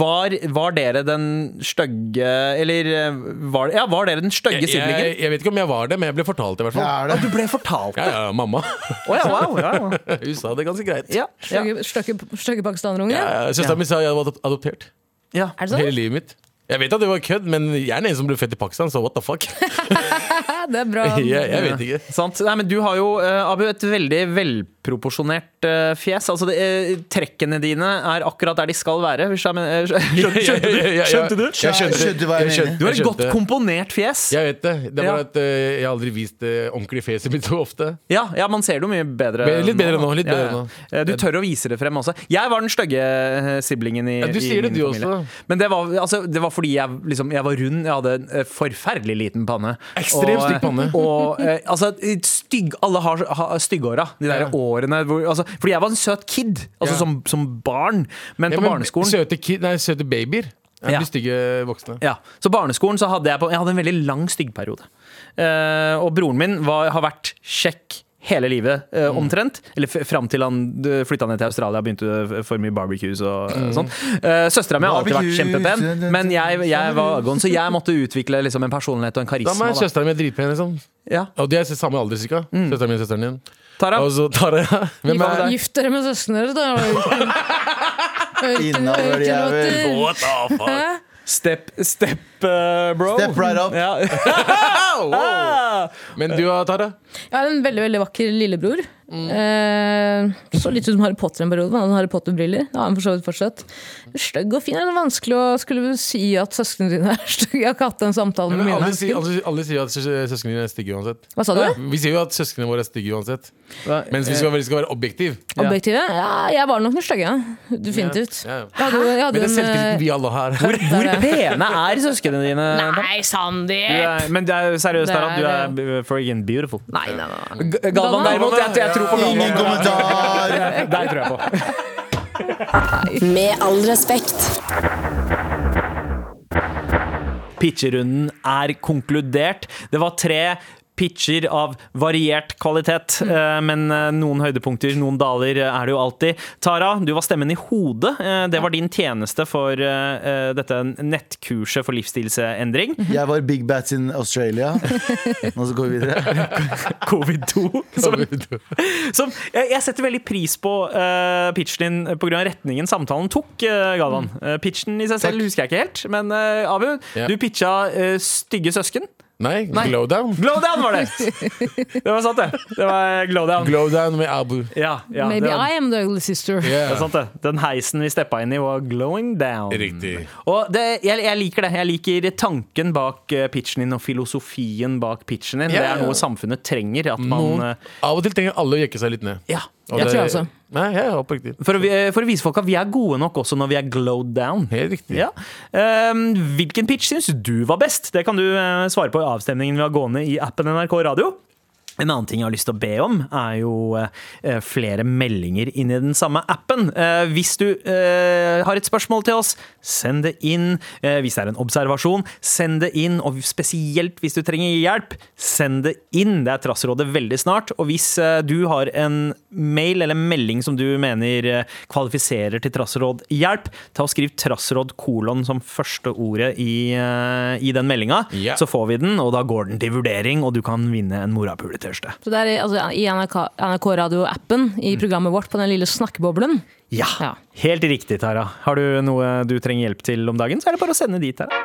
Var, var dere den stygge Eller eh, var, ja, var dere den stygge
Jeg, jeg,
siblingen?
jeg vet ikke om jeg var det, men jeg ble fortalt det, i hvert
Det
fall.
er det.
Du ble fortalt
Ja,
det?
ja, mamma.
Å ja, wow. Ja, ja.
Hun sa det ganske greit.
Ja, ja,
Stygge- Stygge stygge pakistanerunge.
Ja, ja, Søsteren min sa jeg var adop- adoptert
ja.
Er det
hele
sånn?
livet mitt. Jeg vet at det var kødd, men jeg er den eneste som ble født i Pakistan, så what the fuck?
Ja, det er bra.
Jeg, jeg vet ikke.
Sant. Nei, men du har jo, eh, Abu, et veldig velproporsjonert eh, fjes. Altså, det, eh, trekkene dine er akkurat der de skal være. Hvis jeg, men, eh, skjønte, skjønte du? Skjønte du?
Jeg skjønte,
Skjønte du hva jeg mener?
Du har et
skjønte.
godt komponert fjes.
Jeg vet det. Det er
Ja.
bare at eh, jeg har aldri vist eh, ordentlig fjeset mitt så ofte.
Ja, ja, man ser det jo mye bedre
Be- litt bedre
da.
nå, litt bedre nå.
Eh, Du tør å vise det frem også. Jeg var den stygge eh, siblingen i,
Ja, du
i
sier det,
min
du
familie.
også.
Men det var, altså, det var fordi jeg, liksom, jeg var rund, jeg hadde en eh, forferdelig liten panne. Og,
Ekstremt
eh,
stygg panne.
Og, eh, altså, stygg, alle har, har styggåra, de der
Ja.
årene hvor, altså, Fordi jeg var en søt kid, altså
Ja.
som, som barn, men
Ja,
på
men
barneskolen
Søte, kid, nei, søte babyer. Jeg
Ja.
blir stygge voksne.
ja, Så barneskolen så hadde jeg, på, jeg hadde en veldig lang styggperiode. Eh, og broren min var, har vært kjekk hele livet, eh, omtrent. Eller f- fram til han eh, flytta ned til Australia og begynte f- for mye barbecues og eh, sånn. Uh, Søstera mi har alltid vært kjempepen, men jeg, jeg var agon, så jeg måtte utvikle liksom, en personlighet og en
Da
karisma.
er
Da.
søsteren min dritpen, liksom.
Ja.
Og de er samme alder, cirka.
Mm.
Søsteren min og søsteren din.
Tara,
Og så Tara. Hvem
Hva med
er
deg?
Gift dere med søstrene deres, da. Ørken-
Innavl, jævel.
ørkenrotter.
What the fuck?
Hæ?
step, step eh, bro.
Step right up.
Ja. Ah!
Men du og Tara?
Jeg har en veldig veldig vakker lillebror.
Mm.
Eh, så litt ut som Harry Potter en periode. men Han hadde Harry Potter-briller. Ja, han for så vidt fortsatt. Stygg og fin. Det er vanskelig å skulle si at søsknene dine er stygge. Jeg har ikke hatt den samtalen med
Alle,
mine.
sier- alle, alle sier at søs- søsknene dine er stygge uansett.
Hva sa du?
Vi sier jo at søsknene våre er stygge uansett.
Hva-
Mens vi skal, være- vi skal være objektive.
Objektive? Ja, jeg var nok den stygge. Definitivt.
Ja, ja.
Jeg hadde, jo- jeg
Men
hadde
det er selvtilliten
en, eh,
vi alle har. Hvor
Hvor pene er søsknene dine?
Nei,
Du
Sandeep!
er, men det er jo seriøst,
Det
Tara, du
er
er friggin beautiful.
Nei, nei, nei.
G- Galvan derimot, jeg, jeg tror på Galvan.
Ingen kommentar!
Der tror jeg på.
Med all respekt.
Pitcherunden er konkludert. Det var tre pitcher av variert kvalitet, eh, men eh, noen høydepunkter, noen daler eh, er det jo alltid. Tara, du var stemmen i hodet. Eh, Det var din tjeneste for eh, eh, dette nettkurset for livsstilsendring.
Jeg var Big Bats in Australia. Nå så går vi videre.
Covid-2. Som, som, jeg, jeg setter veldig pris på eh, pitchen din pga. retningen samtalen tok, eh, Galvan. Eh, pitchen i seg selv
Takk.
husker jeg ikke helt, men eh, Abu,
Ja.
du pitcha eh, stygge søsken.
Nei, Glowdown.
Glowdown var det! Det var sant, det. Det var eh, Glowdown.
Glowdown med Abu.
Ja, Mm. ja, det
Maybe
var,
I am the ugly sister.
det er sant, det. Den heisen vi steppa inn i, var glowing down.
Riktig.
Og det, jeg, jeg liker det. Jeg liker tanken bak eh, pitchen din og filosofien bak pitchen din.
Ja,
Det
ja.
er noe samfunnet trenger. At man
Noen,
eh,
av og til trenger alle å jekke seg litt ned.
Ja.
Og
Jeg
det-
tror også.
Nei, jeg er oppriktig.
For å, vi- eh, for å vise folk at vi er gode nok også når vi er glowed down.
Helt riktig.
Ja. Ehm, hvilken pitch syns du var best? Det kan du eh, svare på i avstemningen vi har gående i appen NRK Radio. En annen ting jeg har lyst til å be om, er jo eh, flere meldinger inn i den samme appen. Eh, hvis du eh, har et spørsmål til oss, send det inn. Eh, hvis det er en observasjon, send det inn. Og spesielt hvis du trenger hjelp, send det inn. Det er Trassrådet veldig snart. Og hvis eh, du har en mail eller melding som du mener eh, kvalifiserer til Trassråd hjelp, ta og skriv Trassråd kolon som første ordet i, eh, i den meldinga.
Ja.
Så får vi den, og da går den til vurdering, og du kan vinne en morapuletørste.
Så det er i- altså, i NRK, NRK Radio-appen,
Mm.
i programmet vårt på den lille snakkeboblen.
Ja.
Ja.
Helt riktig, Tara. Har du noe du trenger hjelp til om dagen, så er det bare å sende dit, Tara.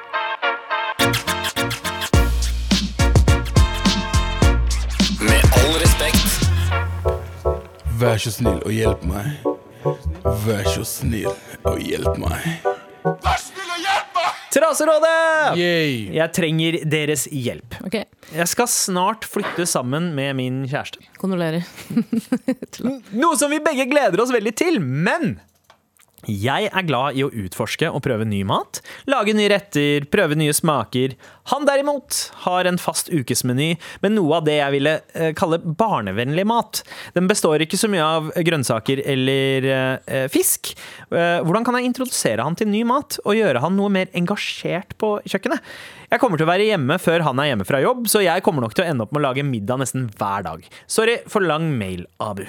Med all respekt.
Vær så snill og hjelp meg. Vær så snill og hjelp meg.
Traserådet!
Yay.
Jeg trenger deres hjelp.
Ok,
Jeg skal snart flytte sammen med min kjæreste.
Kondolerer.
Noe som vi begge gleder oss veldig til, men jeg er glad i å utforske og prøve ny mat, lage nye retter, prøve nye smaker. Han derimot har en fast ukesmeny med noe av det jeg ville eh, kalle barnevennlig mat. Den består ikke så mye av grønnsaker eller eh, fisk. Eh, Hvordan kan jeg introdusere han til ny mat og gjøre han noe mer engasjert på kjøkkenet? Jeg kommer til å være hjemme før han er hjemme fra jobb, så jeg kommer nok til å ende opp med å lage middag nesten hver dag. Sorry for lang mail, Abu.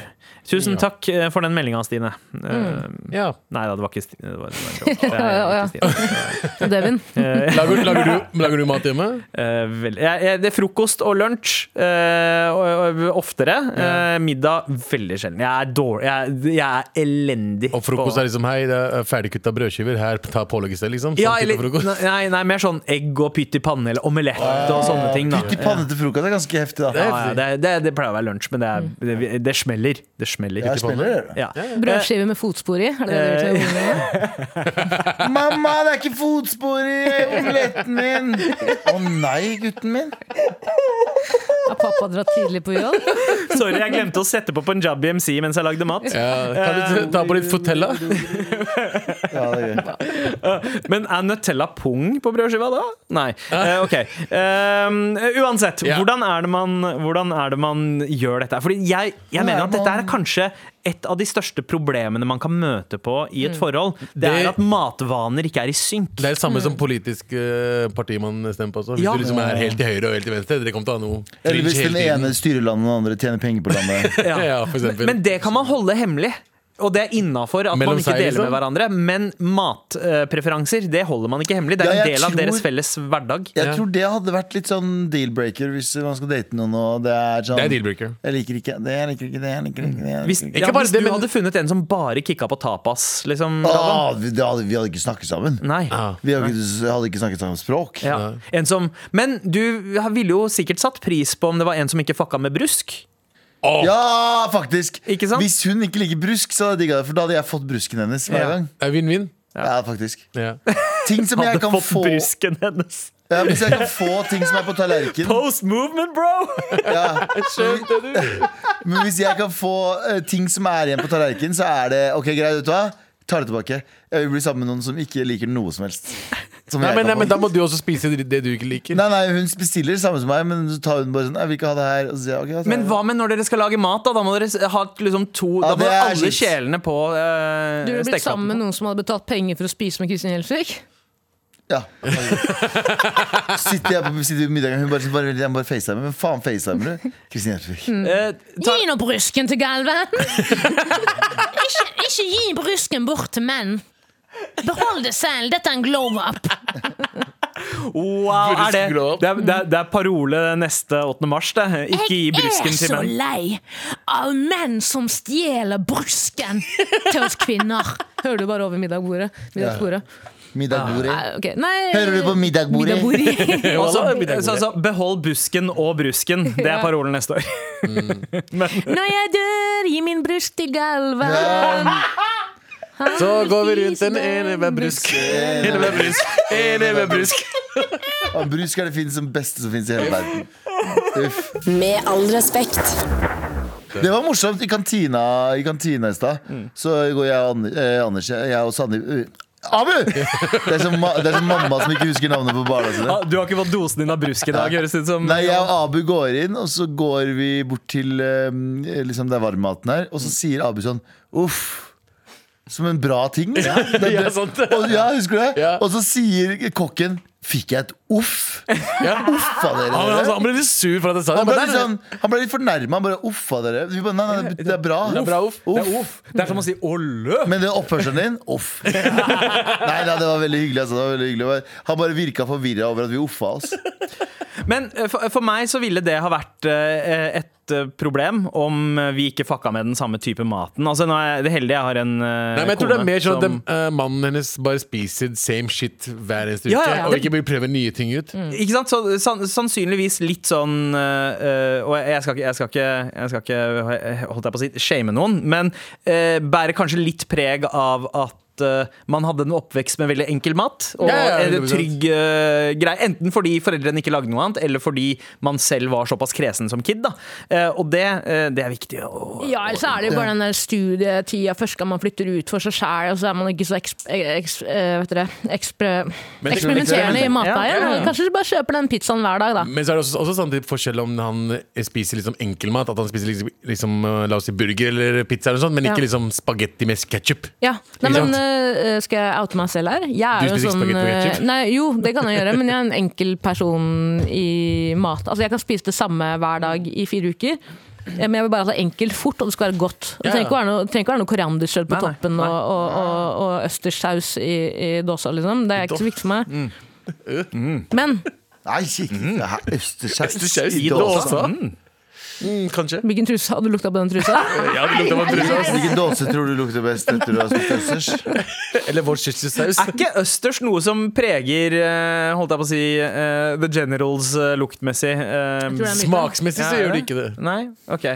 Tusen takk eh, for den meldinga, Stine. Eh,
Ja.
Nei da, det var ikke Stine. Det var, det var en joke. Det er ikke Stine.
Og Devin.
Lager, lager, du, lager du mat hjemme?
Eh, vel, jeg, jeg, det er frokost og lunsj eh, og, og, oftere. Eh, middag veldig sjelden. Jeg er dårlig. Jeg, er- jeg er elendig.
Og frokost er liksom hei, det er ferdigkutta brødskiver. Her, ta pålegg i sted, liksom. Sånn
ja,
type
eller,
frokost.
nei, nei, mer sånn egg og pytt i panne eller omelett og sånne ting. Da.
Pytt i panne til frokost er ganske heftig, da.
Ja, ja, det, det, det pleier å være lunsj, men det, er, det, det smeller. Det smeller.
Jeg spiller det.
Ja.
Brødskive med fotspor i. Er det det
eh,
du vil til å ordne?
Mamma, det er ikke fotspor i omeletten min! Å nei, gutten min.
Har pappa dratt tidlig på jobb?
Sorry, jeg glemte å sette på Punjabi MC mens jeg lagde mat.
Ja, kan
Eh,
du ta på litt Fotella?
Ja, det er gøy.
Men er Nutella pung på brødskiva da? Nei. Eh, ok. Um, uansett,
Ja.
hvordan, er det man, hvordan er det man gjør dette? Fordi jeg, jeg mener at dette er kanskje et av de største problemene man kan møte på i et forhold. Det
Det-
er at matvaner ikke er i synk.
Det er det samme som politisk eh, parti man stemmer på. også. Hvis
mm. Ja.
du liksom er helt til høyre og helt til venstre, dere kommer til å ha noe
Eller hvis
cringe
den
hele tiden.
ene styrer landet, og den andre tjener penger på landet.
Ja, ja, for eksempel.
Men det kan man holde hemmelig. Og det er innafor at
Mellom
man ikke
seg,
deler
liksom?
med hverandre. Men matpreferanser det holder man ikke hemmelig. Det er
Ja,
en
jeg
del av deres
tror-
felles hverdag.
Jeg tror det hadde vært litt sånn deal-breaker hvis man skal date noen. Og det er sånn
Det er deal-breaker.
Jeg liker ikke det, jeg liker ikke det. jeg liker ikke det, jeg
Hvis,
liker ikke det.
ja,
bare
hvis du
det, men-
hadde funnet en som bare kikka på tapas, liksom Galvan.
Å, vi, det hadde, vi hadde ikke snakket sammen.
Nei.
Ja.
Vi hadde ikke, hadde ikke snakket samme språk.
Ja. En som, men du ville jo sikkert satt pris på om det var en som ikke fucka med brusk.
Ja, faktisk!
Ikke sant?
Hvis hun ikke liker brusk, så hadde jeg digga det. For da hadde jeg fått brusken hennes hver
Ja.
gang.
Det er Vinn-vinn.
Ja, faktisk
Ja.
Ting som jeg
Hadde
kan
fått
få
brusken hennes.
ja, Hvis jeg kan få ting som er på tallerken
Post movement, bro!
ja.
Skjønte du?
Men hvis jeg kan få eh, ting som er igjen på tallerken, så er det ok, greit, vet du hva? Tar det tilbake. Jeg vil bli sammen med noen som ikke liker noe som helst. Som
Nei,
jeg
men, nei,
kan få.
men da må du også spise det det du ikke liker.
Nei, nei, hun bestiller samme som meg, men så tar hun bare sånn Jeg vil ikke ha det her. Og så sier jeg, ok, da tar
Men
jeg det.
hva med når dere skal lage mat? Da Da må dere s- ha liksom to
Ja,
Da må
det er
alle
litt-
kjelene på uh,
Du ville blitt sammen med noen som hadde betalt penger for å spise med Kristin Gjelsvik?
Ja. sitter jeg på sitter vi på middagen, hun bare sier bare, vent, jeg må bare facetimer. Men faen, facetimer du? Kristin Hjertvik.
Eh,
Gi nå brysken til Galvan! ikke, ikke gi brysken bort til menn. Behold det selv, dette er en glow up.
Wow, er det,
Bruskglad.
det, er, det, er, det er parole neste 8. mars, det. Ikke gi brusken til menn.
lei av menn som stjeler brysken til oss kvinner. Hører du bare over middagsbordet? middagsbordet.
Middagbordet.
Nei, ok. Nei,
Hører du på middagbordet?
middagbordet.
Og så- altså, så- så behold busken og brusken. Det er parolen neste år.
Når jeg dør, gi min brusk til Galvan.
Så går vi rundt en ene med brusk. Ene med brusk. Ene med brusk.
Og brusk er det fint som beste som fins i hele verden. Uff.
Med all respekt.
Det var morsomt. I kantina i kantina i stad
Mm.
så går jeg og An- eh, Anders Jeg og Sandeep eh, Abu! Det er, som, ma- det er som mamma som ikke husker navnet på barna sine.
Ah, Du har ikke fått dosen din av brusk i dag, høres det ut som.
Nei, jeg og Abu går inn, og så går vi bort til eh, liksom der varmmaten er. Og så
Mm.
sier Abu sånn Uff. Som en bra ting. Ja,
ja, sant.
Og, ja husker du det?
Ja.
Og så sier kokken Fikk jeg et uff?
Ja.
Uffa dere.
Han,
dere?»
han, han ble litt sur for at jeg sa det.
Han ble
men
litt,
det er-
sånn, han ble litt fornærma. Han bare uffa dere. Vi bare, nei, nei, det er bra.
Det er bra uff.
Uff.
Det er off. Det er som å si olle.
Men den oppførselen din, uff. Nei, nei, det var veldig hyggelig. Altså. Det var veldig hyggelig. Han bare virka forvirra over at vi uffa oss.
Men eh, for, for meg så ville det ha vært eh, et eh, problem om eh, vi ikke fucka med den samme type maten. Altså, nå er jeg det heldige jeg har en eh,
Nei, men jeg tror det er
kone
mer sånn at
som-
dem, eh, mannen hennes bare spiser same shit hver eneste uke.
Ja, ja, ja.
Og ikke prøver nye ting ut.
Ikke sant? Så, sann- sannsynligvis litt sånn eh, eh, Og jeg skal ikke, jeg skal ikke, jeg skal ikke eh, holdt jeg på å si, shame noen, men eh, bærer kanskje litt preg av at eh, man hadde en oppvekst med veldig enkel mat. Og
Ja, ja,
en
100%.
trygg eh, greie. Enten fordi foreldrene ikke lagde noe annet, eller fordi man selv var såpass kresen som kid. Da. Eh, og det, eh, det er viktig å
Ja, eller så er det jo bare den der studietida først skal man flytter ut for seg sjæl, og så er man ikke så eks, eks, eh, vet dere, ekspre, eksperimenterende i matveien.
Ja, ja, ja.
Kanskje du bare kjøper den pizzaen hver dag, da.
Men så er det også, også samtidig forskjell om han spiser liksom enkelmat. At han spiser liksom, liksom eh, la oss si burger eller pizza, eller noe sånt, men
Ja.
ikke liksom spagetti med ketsjup.
Ja, nei,
Ikke
men
sant?
eh, Skal jeg oute meg selv her? Jeg
Du spiser
er jo
ikke
sånn,
spagetti med
eh,
ketchup?
nei, Jo, det kan jeg gjøre, men jeg er en enkel person i mat. Altså, Jeg kan spise det samme hver dag i fire uker. eh, Men jeg vil bare ha det enkelt, fort, og det skal være godt.
Ja,
Det
ja.
trenger ikke være noe, trenger ikke være noe korianderskjell på
Nei, nei,
toppen
nei.
Og, og, og, og østerssaus i, i dåsa, liksom. Det er ikke så viktig for
Mm.
meg. Men
Nei, ikke det her østerssaus
Østerssaus
i
i
dåsa.
dåsa. Mm, kanskje.
hvilken truse hadde du lukta på den trusa?
Ja, det lukter bare brus.
Hvilken dåse tror du lukter best etter du har spist østers?
Eller Worcestersaus.
Er ikke østers noe som preger eh, holdt jeg på å si, eh, The Generals eh, luktmessig? eh,
tror det er mye.
Smaksmessig så
Ja,
gjør
er
det ikke det.
Nei? Ok.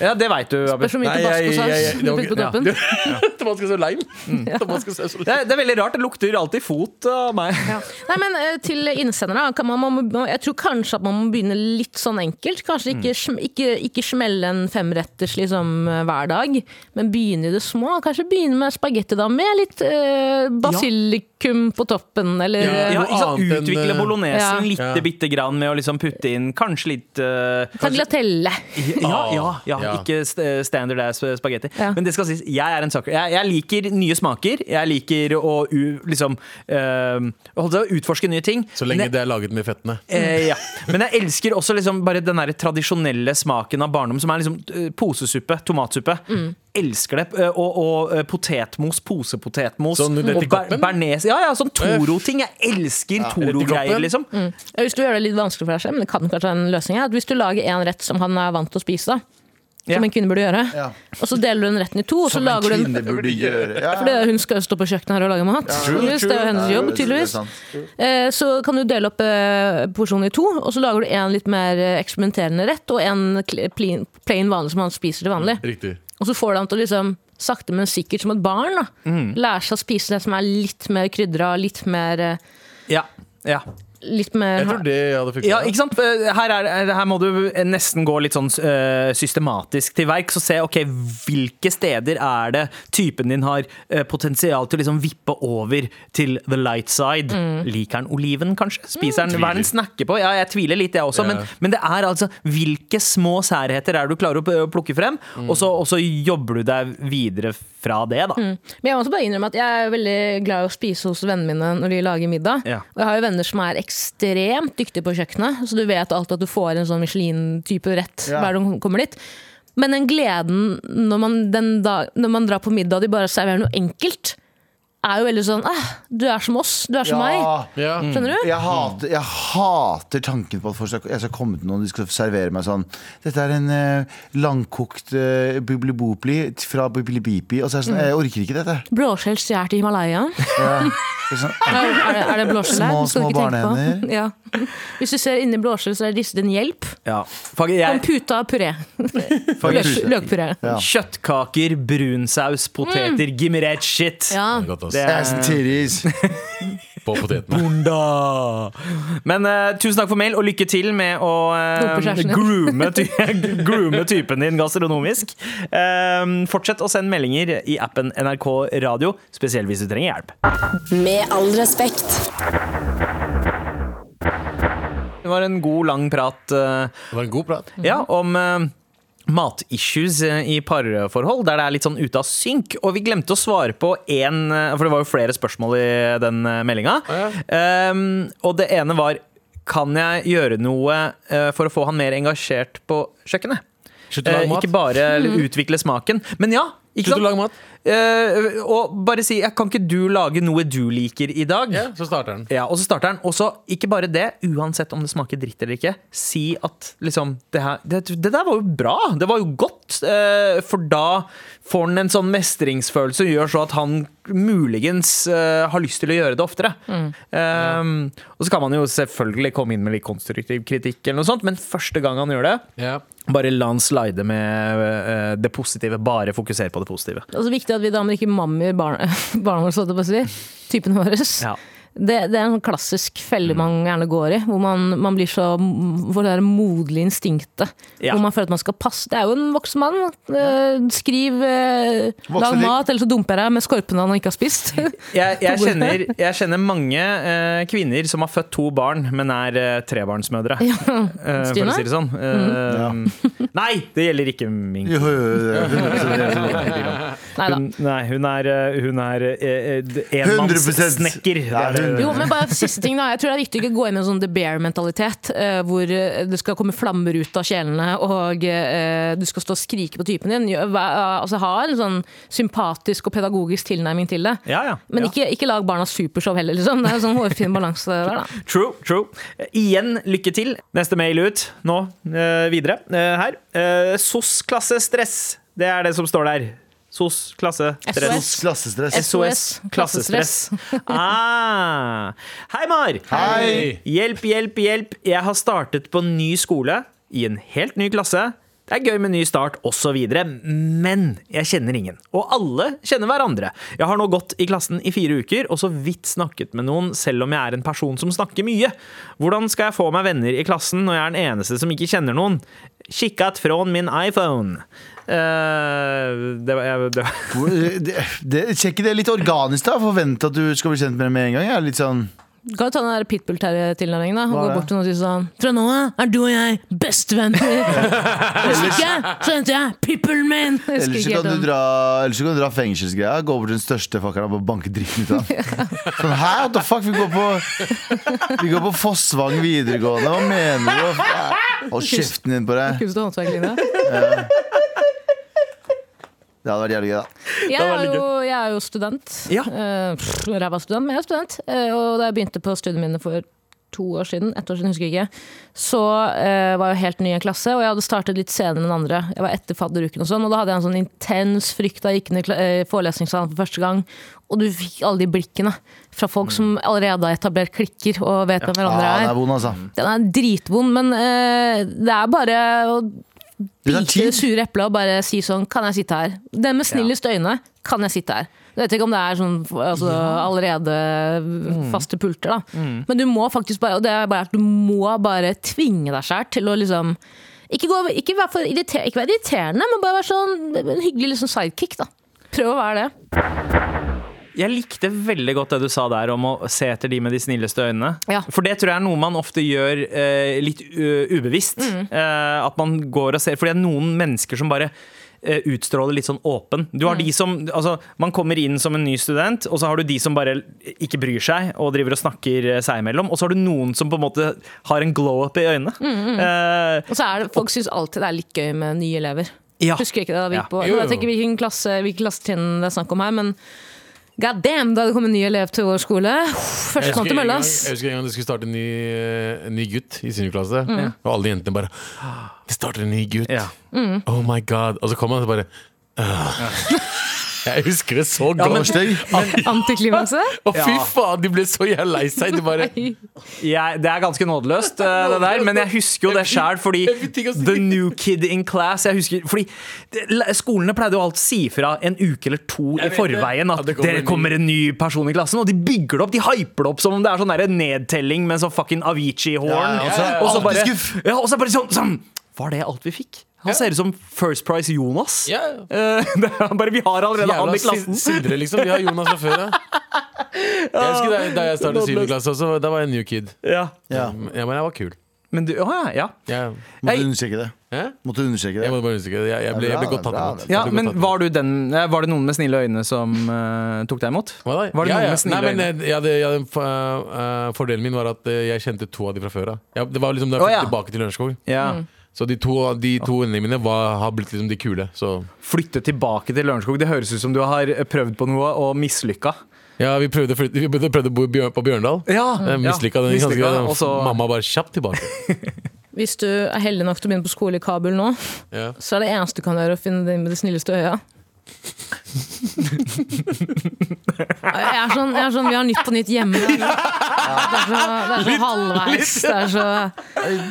Ja, det veit du, Abu.
Det er så mye
Nei, jeg- jeg-
tabascosaus
jeg-
du
det var
putter på
ikke-
toppen.
Tomatsaus og lime.
Mm.
Tomatsaus og
Det
lime.
er, det er veldig rart. Det lukter alltid fot av meg.
Nei, men eh, til innsendere kan man, man, må- Jeg tror kanskje at man må begynne litt sånn enkelt. Kanskje ikke,
Mm.
sm- ikke, ikke smelle en femretters liksom, eh, hver dag, men begynne i det små. Kanskje begynne med spagetti da, med litt eh, basilikum på toppen, eller
Ja.
Ja, ikke sant?
annet enn,
Utvikle
eh,
Ja.
bolognesen
Ja.
lite bitte grann med å liksom putte inn kanskje litt eh,
tagliatelle.
ja, ja, ja,
Ja.
ikke st- standard ass spagetti.
Ja.
Men det skal sies, jeg er en sucker. Jeg, jeg liker nye smaker. Jeg liker å u, liksom eh, holdt jeg på å utforske nye ting.
Så
Men
lenge
jeg-
det er laget med fettene.
Eh, ja. Men jeg elsker også liksom bare den der tradisjonelle smaken av barndom, som er liksom eh, posesuppe, tomatsuppe.
Mm.
Elsker det. Eh, Og, og eh, potetmos, posepotetmos.
Sånn rett i
og ber-
koppen? Eh.
bearnés. Ja, ja, sånn Toro-ting. Jeg elsker Toro-greier,
koppen?
liksom.
Mm. Hvis du gjør det litt vanskelig for deg selv, men det kan kanskje være en løsning, er at hvis du lager en rett som han er vant til å spise, da,
Ja.
som en kvinne burde gjøre,
Ja.
og så deler du den retten i to, og så
Som en
lager du en
kvinne burde gjøre. Ja,
fordi hun skal jo stå på kjøkkenet her og lage mat. Hvis det er jo hennes
Ja,
jobb,
det er
tydeligvis.
sant.
Eh, Så kan du dele opp eh, porsjonen i to, og så lager du en litt mer eh, eksperimenterende rett, og en kl- plain, plain vanlig som han spiser til vanlig.
Riktig.
Og så får du han til å liksom, sakte, men sikkert som et barn, da,
Mm.
lære seg å spise det som er litt mer krydra, litt mer, eh,
Ja, ja.
litt mer
Jeg tror det hadde funket.
ja, ikke sant? Eh, Her, er, her må du nesten gå litt sånn eh, systematisk til verk, så se ok, hvilke steder er det typen din har eh, potensial til å liksom vippe over til the light side. Liker han oliven, kanskje? Spiser han hva er det han snakker på? Ja, jeg tviler litt, jeg også,
Ja.
men, men det er altså hvilke små særheter er det du klarer å p- plukke frem, og, så, og så jobber du deg videre fra det, da.
Men jeg må også bare innrømme at jeg er veldig glad i å spise hos vennene mine når de lager middag.
Ja.
Og jeg har jo venner som er ekstremt dyktige på kjøkkenet, så du vet alltid at du får en sånn Michelin-type rett
Ja.
hver gang du kommer dit. Men den gleden når man, den da, når man drar på middag og de bare serverer noe enkelt, er jo veldig sånn «Ah, Du er som oss. Du er som meg.
Ja. Mm.
Ja.
Skjønner du?
Jeg hater, jeg hater tanken på at folk skal, jeg skal komme til noen de skal servere meg sånn Dette er en eh, langkokt uh, biblibopli fra biblibipi. Og så er det
Mm.
sånn, jeg orker ikke dette.
Blåskjell stjålet i Himalaya.
Det er sånn,
Er, er, det, er det blåskjell der?
Små,
Det skal
små
du ikke tenke på.
barnehender.
Ja. Hvis du ser inni blåskjell, så er ristet en hjelp.
Ja. Fuck,
En
jeg,
pute av puré. Løk, løkpuré.
Ja.
kjøttkaker, brunsaus, poteter, give me that shit!
Ja.
Godt, ass.
Det er-
ass and titties.
På potetene.
Onda. Men eh, tusen takk for mail, og lykke til med å eh,
Dope kjæresten din.
groome, ty groome typen din gastronomisk. Eh, fortsett å sende meldinger i appen NRK Radio, spesielt hvis du trenger hjelp.
Med all respekt.
Det var en god, lang prat eh,
Det var en god prat.
ja, om eh, matissues eh, i parforhold, der det er litt sånn ute av synk. Og vi glemte å svare på én, eh, for det var jo flere spørsmål i den eh, meldinga. Um, og det ene var Kan jeg gjøre noe eh, for å få han mer engasjert på kjøkkenet?
Slutt å
Eh,
lage mat.
ikke bare utvikle smaken, men ja. Ikke
Slutt
sant?
å lage mat.
Eh, og bare si jeg 'Kan ikke du lage noe du liker i dag?'
Ja, så starter den.
Ja, og så starter han. Og så, ikke bare det, uansett om det smaker dritt eller ikke, si at liksom Det, her, det, det der var jo bra! Det var jo godt! Eh, for da får han en sånn mestringsfølelse og gjør så at han muligens eh, har lyst til å gjøre det oftere. Eh, og så kan man jo selvfølgelig komme inn med litt konstruktiv kritikk, eller noe sånt, men første gang han gjør det,
Ja.
bare la han slide med eh, det positive. Bare fokuser på det positive.
Det er også viktig at vi damer ikke mammer barna barna våre, holdt jeg på å si. Typen vår.
Ja. Mm.
Det, det er en sånn klassisk felle man gjerne går i, hvor man, man blir så Hvor det der moderlige instinktet.
Ja.
Hvor man føler at man skal passe Det er jo en voksen mann. Eh, skriv eh, Lag
liv.
mat, eller så dumper jeg deg med skorpene han ikke har spist.
jeg, jeg,
To gode.
kjenner, jeg kjenner mange eh, kvinner som har født to barn, men er eh, trebarnsmødre. Eh, for
Stine?
å si det sånn.
Mm.
Eh, Nei, det gjelder ikke min
Jo, jo, jo, jo.
Nei da.
hun, nei, hun er, eh, hun er eh, eh, enmannssnekker.
100%. Ja,
Det er det.
Jo, men bare siste ting da Jeg tror det er viktig å ikke gå inn med en sånn the bear-mentalitet, eh, hvor eh, det skal komme flammer ut av kjelene, og eh, du skal stå og skrike på typen din. Gjør- hva- Altså Ha en sånn sympatisk og pedagogisk tilnærming til det.
Ja, ja.
Men
ja.
ikke, ikke lag barna supershow heller, liksom. Det er en sånn hårfin balanse der, da.
True, true. Eh, Igjen, lykke til. Neste mail ut nå, eh, videre eh, her. Eh, SOS klasse stress. Det er det som står der. SOS klasse stress.
SOS.
Sos Klassestress.
SOS klassestress. Ah. Hei, Mar!
Hei!
Hjelp, hjelp, hjelp. Jeg har startet på ny skole i en helt ny klasse. Det er gøy med ny start osv., men jeg kjenner ingen. Og alle kjenner hverandre. Jeg har nå gått i klassen i fire uker og så vidt snakket med noen, selv om jeg er en person som snakker mye. Hvordan skal jeg få meg venner i klassen når jeg er den eneste som ikke kjenner noen? Kikkat fra min iPhone. Eh, det var, jeg, det var
Hvor- det- det- Sjekk det litt organisk, da. Forvente at du skal bli kjent med dem med en gang. Jeg er litt sånn
Kan du ta den der pitbull-tilnærmingen, da? Og
Hva er
gå
det?
bort til noen og si sånn Fra nå av er du og jeg bestevenner! Hvis ikke, så henter jeg pitbullen min! Jeg husker
Ellers så
ikke helt
kan
om-
du dra, ellers så kan du dra fengselsgreia. Gå over til den største fuckeren og bare banke dritten ut av ham. Sånn, hæ, what the fuck? Vi går på Vi går på Fossvang videregående. Hva mener du? Hold kjeften din på deg.
Kunst- og håndverklinja.
Det hadde vært jævlig gøy, da.
Jeg
var
er,
veldig
jo, jeg er jo student.
Ja.
Eh, pff, Ræva student, men jeg er student. Eh, og da jeg begynte på studiene mine for to år siden, ett år siden, husker jeg ikke, så eh, var jeg helt ny i en klasse, og jeg hadde startet litt senere enn andre. Jeg var etter fadderuken og sånn, og da hadde jeg en sånn intens frykt da jeg gikk inn i kla- eh, forelesningssalen for første gang, og du fikk alle de blikkene fra
Mm.
folk som allerede har etablert klikker og vet hvem
Ah,
hverandre
den er
er.
vond, altså.
Den er dritvond, men eh, det er bare å
Det tar
bite det
tid.
sure eplet og bare si sånn Kan jeg sitte her? Den med snillest øyne, kan jeg sitte her? Jeg vet ikke om det er sånn altså, allerede
Mm.
faste pulter, da. Men du må faktisk bare Og det er bare at du må bare tvinge deg sjæl til å liksom ikke, gå, ikke, være for irriter, ikke være irriterende, men bare være sånn en hyggelig liksom sidekick, da. Prøv å være det.
Jeg likte veldig godt det du sa der om å se etter de med de snilleste øynene.
Ja.
For det tror jeg er noe man ofte gjør eh, litt eh, ubevisst.
Mm.
Eh, at man går og ser. For det er noen mennesker som bare eh, utstråler litt sånn åpen. Du
Mm.
har de som, altså, man kommer inn som en ny student, og så har du de som bare ikke bryr seg og driver og snakker eh, seg imellom. Og så har du noen som på en måte har en glow up i øynene.
Mm,
Eh,
Og så er det, folk syns alltid det er litt gøy med nye elever.
ja.
Husker jeg ikke det da vi
Ja.
gikk på
Jo,
Jeg
jo.
vet ikke hvilken klasse, hvilken klassetrinn det er snakk om her, men God damn, da det kom en ny elev til vår skole.
Jeg
Førstemann
husker, en
til mølla,
gang,
ass.
jeg husker en gang det skulle starte en ny, eh, en ny gutt i seniorklasse. Og alle jentene bare «Ah, Det starter en ny gutt!
Ja.
Oh my god! Og så kom han og så bare «Åh». Jeg husker det så
men-
godt!
Antiklimakse.
Å, fy
Ja.
faen, de ble så jævla lei seg! De bare
Jeg, det er ganske nådeløst, eh, det der, men jeg husker jo det sjæl. Fordi
Everything å si.
the new kid in class jeg husker, Fordi det- le- skolene pleide jo alltid si fra en uke eller to i
Jeg vet det.
forveien at
At det kommer
det
en ny-
kommer en ny person i klassen, og de bygger det opp. De hyper det opp som om det er sånn der nedtelling med sånn fucking Avicii-horn.
Ja, ja, ja.
og så
Alltid
bare,
skuff.
ja, og så bare sånn, sånn Var det alt vi fikk? Han ser ut som First Price Jonas.
Ja, ja.
Eh, det er bare, vi har allerede han
Jævla
i klassen.
sin- sindre, liksom. Vi har Jonas fra før av. Jeg husker da, da jeg startet syvende klasse også, da var jeg new kid.
Ja.
Ja.
Ja, men jeg var kul.
Men du, ja, ja.
Jeg,
Måtte
Hei.
understreke det.
Hæ?
Måtte understreke
jeg
det.
må bare understreke det. Jeg, jeg, ble, jeg ble godt tatt
Bra,
Ja,
bra.
imot. Jeg ble godt tatt
men
imot.
var, du den, eh, var det noen med snille øyne som eh, tok deg imot?
Hva da?
Var det
ja,
noen
ja.
med snille
Nei, men
øyne?
eh, jeg hadde, jeg hadde, en f- eh, eh, Fordelen min var at eh, jeg kjente to av de fra før av. Ja, det var liksom da jeg
Å,
flyttet
ja.
tilbake til Lørenskog.
Ja.
Så de to, de to vennene mine var, har blitt liksom de kule. Så
Flytte tilbake til Lørenskog. Det høres ut som du har prøvd på noe og mislykka.
ja, vi prøvde, å flytte- vi prøvde å bo i Bjør- på Bjørndal.
Ja,
Eh, Mislykka den ganske
og så-
Mamma bare kjapt tilbake.
Hvis du er heldig nok til å begynne på skole i Kabul nå,
Ja.
så er det eneste du kan gjøre, å finne deg med det snilleste øya. Jeg er sånn, jeg er sånn Vi har Nytt på Nytt hjemme. Det er så, det er så halvveis. Det er så,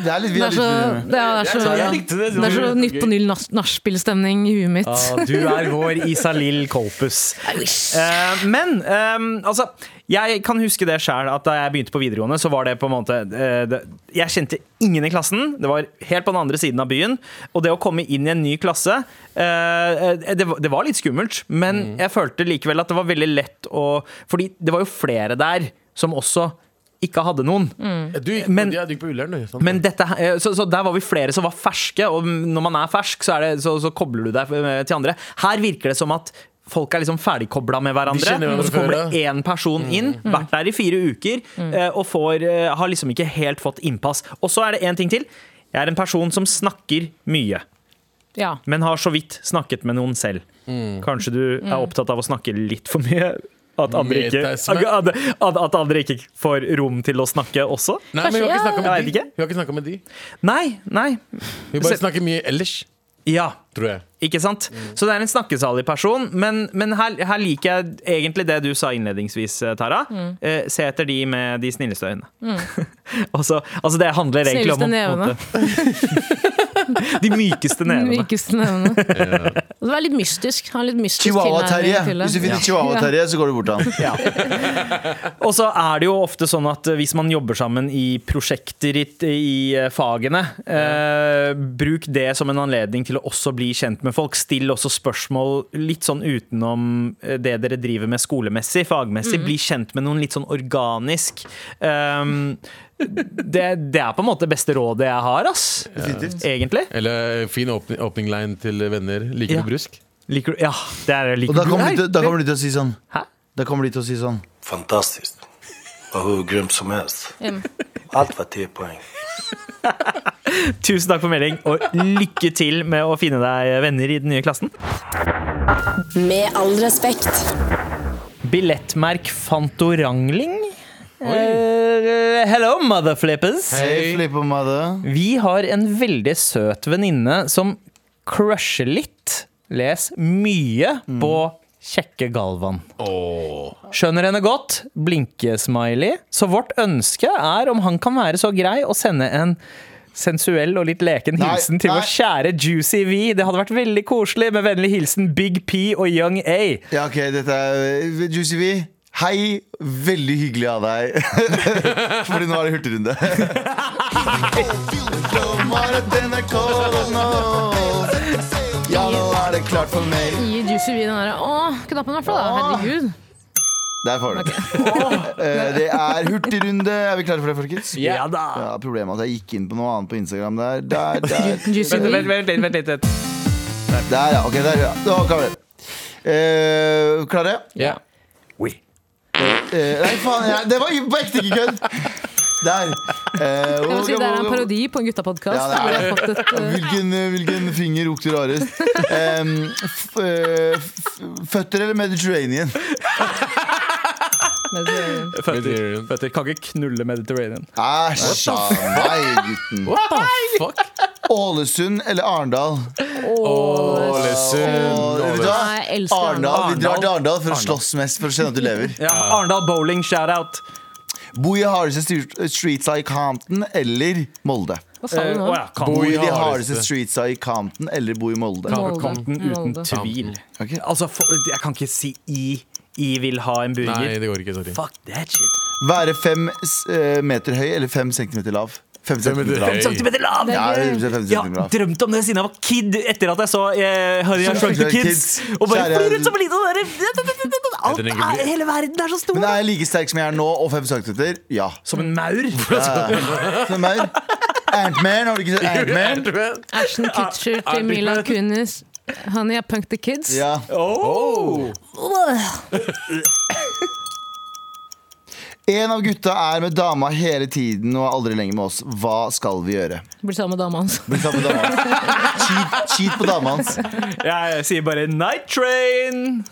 Det er litt
det
vi har
er så,
litt
det er så, det er så,
likte det.
det er så Nytt på Nytt nachspiel-stemning i huet mitt.
Ja, du er vår Isalill Kolpus. Eh, men eh, altså Jeg kan huske det sjøl, at da jeg begynte på videregående, så var det på en måte eh, det, Jeg kjente ingen i klassen. Det var helt på den andre siden av byen. Og det å komme inn i en ny klasse eh, eh, det, var- det var litt skummelt, men jeg følte likevel at det var veldig lett å Fordi det var jo flere der som også ikke hadde noen.
Eh, Du gikk,
Men-
ja, du gikk på Ullern, du. Sånn. sant?
Men dette, her- eh, så, så der var vi flere som var ferske, og når man er fersk, så, er det, så, så kobler du deg eh, til andre. Her virker det som at folk er liksom ferdigkobla med
De
hverandre,
kjenner hverandre
og så kommer
før, Mm.
det én person inn, vært der i fire uker, eh, og får, eh, har liksom ikke helt fått innpass. Og så er det én ting til. Jeg er en person som snakker mye,
Ja.
men har så vidt snakket med noen selv.
Mm.
Kanskje du er opptatt av å snakke litt for mye? At andre, ikke,
Metasme.
at, at at andre ikke får rom til å snakke også?
Nei, men vi har ikke
Kanskje-
snakket
ja,
med
jeg
de.
vet ikke.
Vi har ikke snakket med de.
Nei, nei.
Vi bare
Så-
snakker mye ellers,
Ja.
tror jeg.
Ikke sant? Så det er en snakkesalig person, men, men her, her liker jeg egentlig det du sa innledningsvis, eh, Tara. Eh, se etter de med de snilleste øynene. altså, altså det handler egentlig om
Snilleste
å- på en måte- De mykeste nevene.
Mykeste nevne. Det var litt mystisk. Ha en litt mystisk
Chihuahua-Terje.
tilnærming til det.
Hvis du finner Chihuahua-Terje, så går du bort til han.
Og så er det jo ofte sånn at eh, hvis man jobber sammen i prosjekter i, i eh, fagene, eh, bruk det som en anledning til å også bli kjent med folk. Still også spørsmål litt sånn utenom eh, det dere driver med skolemessig, fagmessig. Bli kjent med noen litt sånn organisk. Um, det, det er på en måte det beste rådet jeg har, ass.
Definitivt.
Egentlig.
Eller eh, fin åpning, opening line til venner. Liker
Ja.
du brusk?
Liker du Ja, det er
Og
liker
da
du
kommer, de,
her.
til- da kommer de til å si sånn.
Hæ?
Da kommer de til å si sånn.
Fantastiskt. Var hur grymt som helst.
Mm.
Allt var 10 poäng.
Tusen takk for melding, og lykke til med å finne deg venner i den nye klassen.
Med all respekt.
Billettmerk Fantorangling. Eh, hello, motherflippers.
Hei, Filippo Madde.
Vi har en veldig søt venninne som crusher litt, les mye,
Mm.
på kjekke Galvan. Skjønner henne godt, blinkesmiley. Så vårt ønske er om han kan være så grei å sende en sensuell og litt leken
Nei,
hilsen til
nei.
vår kjære Juicy V. Det hadde vært veldig koselig. Med vennlig hilsen Big P og Young A.
Ja, ok, dette er eh, Juicy V. Hei, veldig hyggelig av deg. Fordi nå er det hurtigrunde. Dommer at NRK nå. Ja, nå er det klart for meg.
Gi Juicy V den derre Å-knappen, i hvert fall. da. Herregud.
Der får du det. Eh, Det er hurtigrunde. Er vi klare for det, folkens?
Ja da.
Ja, problemet er at jeg gikk inn på noe annet på Instagram der. Der, der,
Juicy
Vent,
V.
vent, vent, litt, vent, litt, vent.
der ja. Ok, der, ja. Nå kommer det. Eh, klare?
Ja.
Eh, nei, faen, jeg, det var på ekte ikke kødd. Der. Eh,
Jeg vil si
og-
Det er en parodi på en guttapodkast.
Ja, det er
hvor jeg har fått et, eh,
Hvilken, hvilken finger lukter rarest? Em, f- eh, f- føtter eller Mediterranean?
med eh, det-
Føtter, føtter kan ikke knulle Mediterranean.
Æsj! Nei, gutten.
What the fuck?
Ålesund eller Arendal? Åh, vet du
Ålesund.
hva?
Nei, jeg elsker
Arendal. Vi drar til
Arendal.
Arendal for å slåss mest for å kjenne at du lever.
Ja, Arendal bowling, shout-out.
Boje Hardeste Streetsa i Compton eller Molde?
Hva sa
eh,
du nå?
Boje de
Hardeste.
hardeste streetsa i Compton eller bo i Molde?
Molde.
Compton uten
Molde.
tvil.
Ok.
Altså, for, jeg kan ikke si I. I vil ha en
Nei,
burger.
det går ikke. Sorry.
Fuck that shit.
Være fem s- eh, meter høy eller fem centimeter lav? Fem centimeter lav.
Hey.
Centimeter lav!
Ja,
Det er gøy.
fem
Jeg
centimeter
har
lav.
drømt om det siden jeg var kid, etter at jeg så eh, Honey, I Shrunk the Kids. Og bare
Kjære-
flyr rundt som en liten der. Alt
den
er,
egentlig-
hele verden er så stor!
Men er jeg like sterk som jeg er nå, og fem centimeter? Ja.
Som en maur.
Som meg. Ant-Man, har du ikke sett Ant-Man?
Ashton Kutcher til Mila Kunis. Han er Punk the Kids.
Ja.
Oh.
En av gutta er med dama hele tiden og er aldri lenger med oss. Hva skal vi gjøre?
Blir sammen med dama hans.
Bli sammen med dama hans. Cheat, cheat på dama hans.
Jeg sier bare Night Train.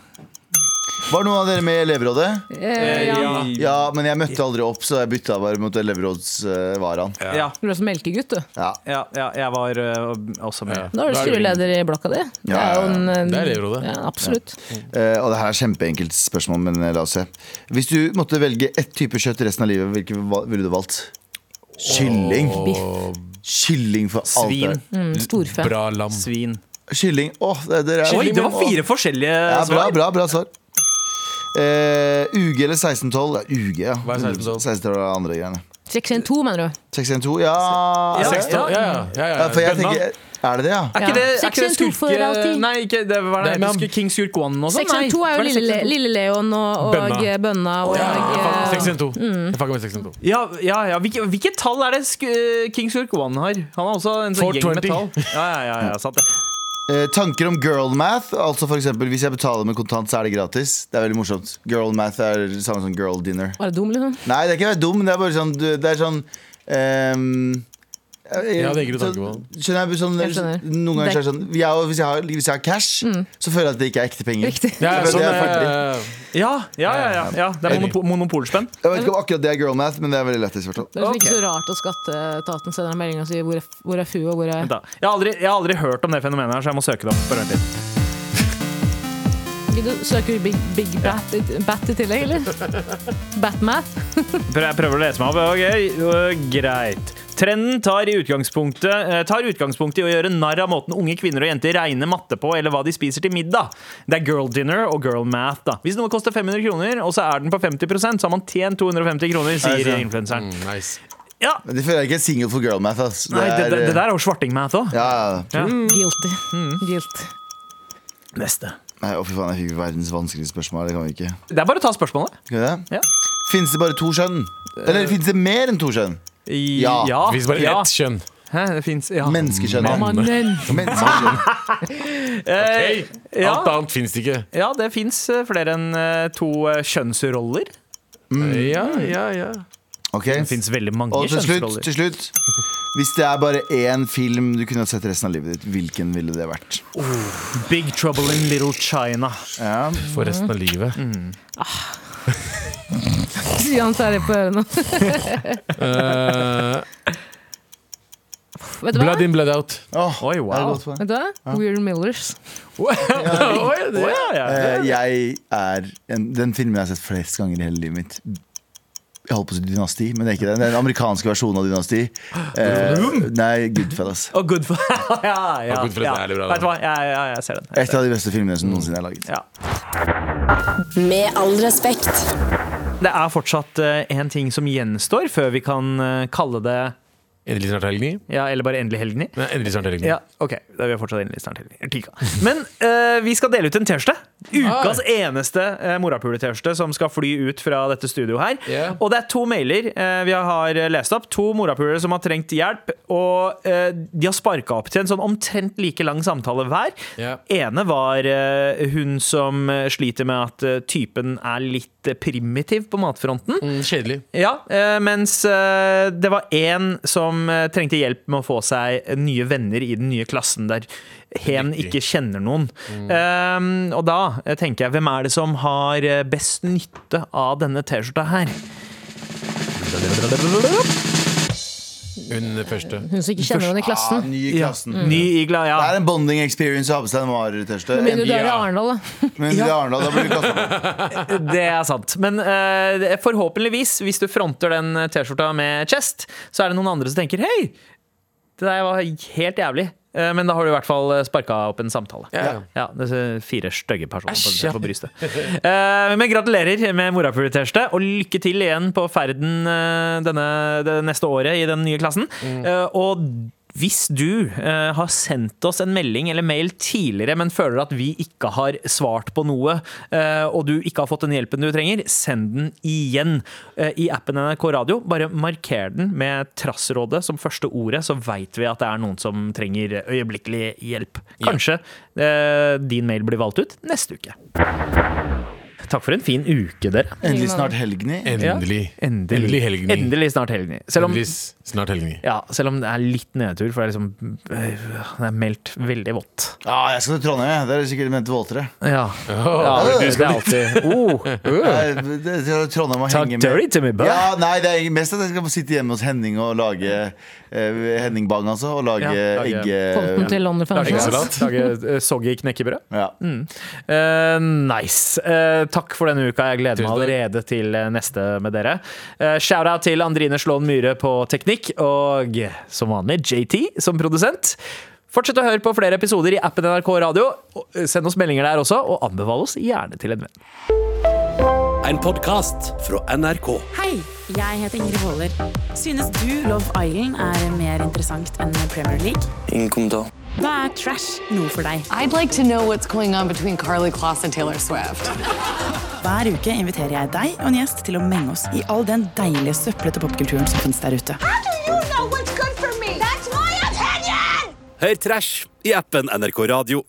Var noen av dere med i elevrådet?
Eh, ja.
Ja, men jeg møtte aldri opp, så jeg bytta bare mot elevrådsvaraen.
Ja,
Du er også melkegutt, du.
Ja.
ja, ja, jeg var eh, også med.
Da er du
Da er det
styreleder i blokka di. Det
ja,
er jo
ja.
en, en
Det er elevrådet.
Ja, absolutt.
Eh, og det her er kjempeenkelt spørsmål, men eh, la oss se. Hvis du måtte velge ett type kjøtt resten av livet, hvilken val- ville du valgt? Kylling. Kylling for alt. det er.
Svin.
Mm, Storfe.
Bra lam.
Svin.
Kylling. Åh, det, dere er
Oi, det var fire forskjellige
Ja, bra,
svar.
bra, bra svar. Eh, UG eller 1612? Ja, UG, ja.
Hva er 1612?
1612 er andre greiene.
612, mener du?
612, ja.
Ja,
ja.
16, ja, ja, ja, ja.
for jeg
Bønna.
tenker, Er det det, ja?
Er ikke det,
Ja.
er ikke det
612 for
skurke...
alltid.
Nei, ikke, det var det
Nei, men-
heter King Skurk 1 og sånn?
612 er jo Lille, lille Leon og, og
Bønna.
Bønna og
Fuck,
eh,
612. Jeg fucker med 612.
Ja, ja, ja. Hvilke, hvilke tall er det sk eh, King Skurk 1 har? Han har også en sånn gjeng med
420.
tall. Ja, ja, ja, ja, sant det.
Eh, tanker om girl math. Altså for eksempel, Hvis jeg betaler med kontant, så er det gratis. Det er veldig morsomt. Girl math er det samme som girl dinner.
Var det dum, liksom?
Nei, det er ikke å være dum. Det er bare sånn, du- det er sånn ehm, eh,
Ja, det er ikke du
så-
tenker på.
Skjønner jeg, sånn,
Jeg skjønner.
Noen ganger så er det sånn jeg, hvis, jeg har, hvis jeg har cash, så føler jeg at det ikke er ekte penger.
Riktig.
Ja,
Det er-
sånn,
det er faktisk-
eh,
Ja, ja, ja. ja, ja. Det er monopo monopolspenn.
Jeg vet ikke om akkurat det er girl math, men det er veldig lettest. i hvert fall.
Det er liksom ikke så rart at skatteetaten sender en melding og sier hvor er, hvor er FU og hvor er
Vent da. Jeg, har aldri, jeg har aldri hørt om det fenomenet, her, så jeg må søke det opp. på den tiden.
Du søker Big, big bat, i- bat i tillegg, eller? Batmath?
Prøv- Jeg prøver å lese meg opp. Ok, øh, greit. Trenden tar, i utgangspunktet, eh, tar utgangspunkt i å gjøre narr av måten unge kvinner og jenter regner matte på, eller hva de spiser til middag. Det er girl dinner og girl math. da. Hvis noe koster 500 kroner, og så er den på 50 så har man tjent 250 kroner, sier
sant.
influenseren.
mm, Nice.
Ja,
Men Det føler jeg ikke er single for girl math. ass.
Nei, det, det,
er, eh,
det der er jo svarting-math òg.
Ja, ja.
Guilty. Guilt.
Neste.
Nei, å, fy faen, jeg fikk verdens vanskeligste spørsmål. Det kan vi ikke.
Det er bare å ta spørsmålet.
Skal vi det?
Ja.
Finnes det bare to kjønn? Eller finnes det mer enn to kjønn?
I-
Ja.
ja.
Hvis bare
Ah, ja.
ett kjønn.
Hæ, det fins ja.
Menneskekjønn. ja.
Mannen.
Menneskekjønn.
Eh,
Hey,
ja.
Alt annet fins ikke.
ja, det fins flere enn eh, to eh, kjønnsroller.
Ja, ja, ja.
Ok.
Det fins veldig mange
Og til slutt,
kjønnsroller.
til slutt Hvis det er bare én film du kunne ha sett resten av livet ditt, hvilken ville det vært?
Big Trouble in Little China.
Ja.
For resten av livet.
Stian Terje på ørene.
Eh,
Vet du hva?
blood in, blood out.
Åh,
Oi, wow.
er det godt for meg?
Vet du hva? Weird Millers.
Oi, det, ja, ja.
Eh, jeg er en, Den filmen jeg har sett flest ganger i hele livet mitt. Jeg holdt på å si Dynasti, men det er ikke det. Det er den amerikanske versjonen av Dynasti. Eh, nei, Goodfellas.
Og Good for Ja, ja.
Og Good for
ja.
det er veldig bra, da.
Vet du hva, ja, ja, jeg ser den.
Et av de beste filmene som noensinne er laget.
Ja.
Med all respekt.
Det er fortsatt eh, en ting som gjenstår før vi kan eh, kalle det
Endelig snart helg ni.
ja, Eller bare endelig helgen i.
Nei, endelig snart helg ni.
Ja, ok, da er vi fortsatt endelig snart helgen. Tika. Men eh, vi skal dele ut en T-skjorte. Ukas eneste uh, morapule-T-skjorte som skal fly ut fra dette studioet her.
Ja.
Og det er to mailer eh, vi har lest opp. To morapulere som har trengt hjelp. Og eh, de har sparka opp til en sånn omtrent like lang samtale hver.
Ja.
Ene var eh, hun som eh, sliter med at eh, typen er litt kjempeprimitiv på matfronten.
Mm, Kjedelig.
Ja, eh, mens eh, det var én som eh, trengte hjelp med å få seg nye venner i den nye klassen, der hen ikke kjenner noen. Eh, og da eh, tenker jeg, hvem er det som har eh, best nytte av denne T-skjorta her?
Hun første.
Hun som ikke kjenner noen i
Ah,
klassen.
ny i
Ja.
klassen.
Ny igla, ja.
Det er en bonding experience å ha på seg en varetørste.
Men du drar i
Ja.
Arendal, da.
Men i Arendal, da blir vi kastet på.
Det er sant. Men eh, det- forhåpentligvis, hvis du fronter den T-skjorta med chest, så er det noen andre som tenker hei, det der var helt jævlig. Eh, Men da har du i hvert fall sparka opp en samtale.
Ja.
Ja, det er Fire stygge personer på, på brystet. Eh, men gratulerer med morapuleterte, og lykke til igjen på ferden eh, denne, det neste året i den nye klassen.
Mm.
Eh, og hvis du eh, har sendt oss en melding eller mail tidligere, men føler at vi ikke har svart på noe, eh, og du ikke har fått den hjelpen du trenger, send den igjen. Eh, I appen NRK Radio, bare marker den med Trassrådet som første ordet, så veit vi at det er noen som trenger øyeblikkelig hjelp. Kanskje eh, din mail blir valgt ut neste uke. Takk for en fin uke, dere.
Endelig snart helgen i.
Endelig.
Ja, endelig.
Endelig helgen.
Endelig snart helgen. Selv om,
Endelig s- snart helgen.
ja, selv om det er litt nedtur, for det er liksom øh, Det er meldt veldig vått.
Ja, Ah, jeg skal til Trondheim, jeg. Der er det sikkert ment våtere.
Ja. ja det er alltid oh, øh.
Jeg- det- jeg tror Trondheim må
Talk
henge
dirty
med.
to me, bro.
Ja, nei, det er mest at jeg skal få sitte hjemme hos Henning og lage eh, Henning Bang, altså. Og lage
Ja, lage-
egg...
Konten
eh,
til London Financial.
Eggesalat.
Lage øh, soggy knekkebrød.
Ja.
Eh, nice. Eh, takk for denne uka. Jeg gleder meg
Tusen takk.
allerede til eh, neste med dere. Uh, Shout-out til Andrine Slåen Myhre på teknikk, og som vanlig JT som produsent. Fortsett å høre på flere episoder i appen NRK Radio. og, eh, Send oss meldinger der også, og anbefal oss gjerne til en venn.
En podkast fra NRK.
Hei, jeg heter Ingrid Haaler. Synes du Love Island er mer interessant enn Premier League?
Ingen kommentar.
Da er trash noe for deg.
I'd like to know what's going on between Carly Kloss and Taylor Swift.
Hver uke inviterer jeg deg og en gjest til å menge oss i all den deilige søplete popkulturen som finnes der ute.
Hør Trash i appen NRK Radio.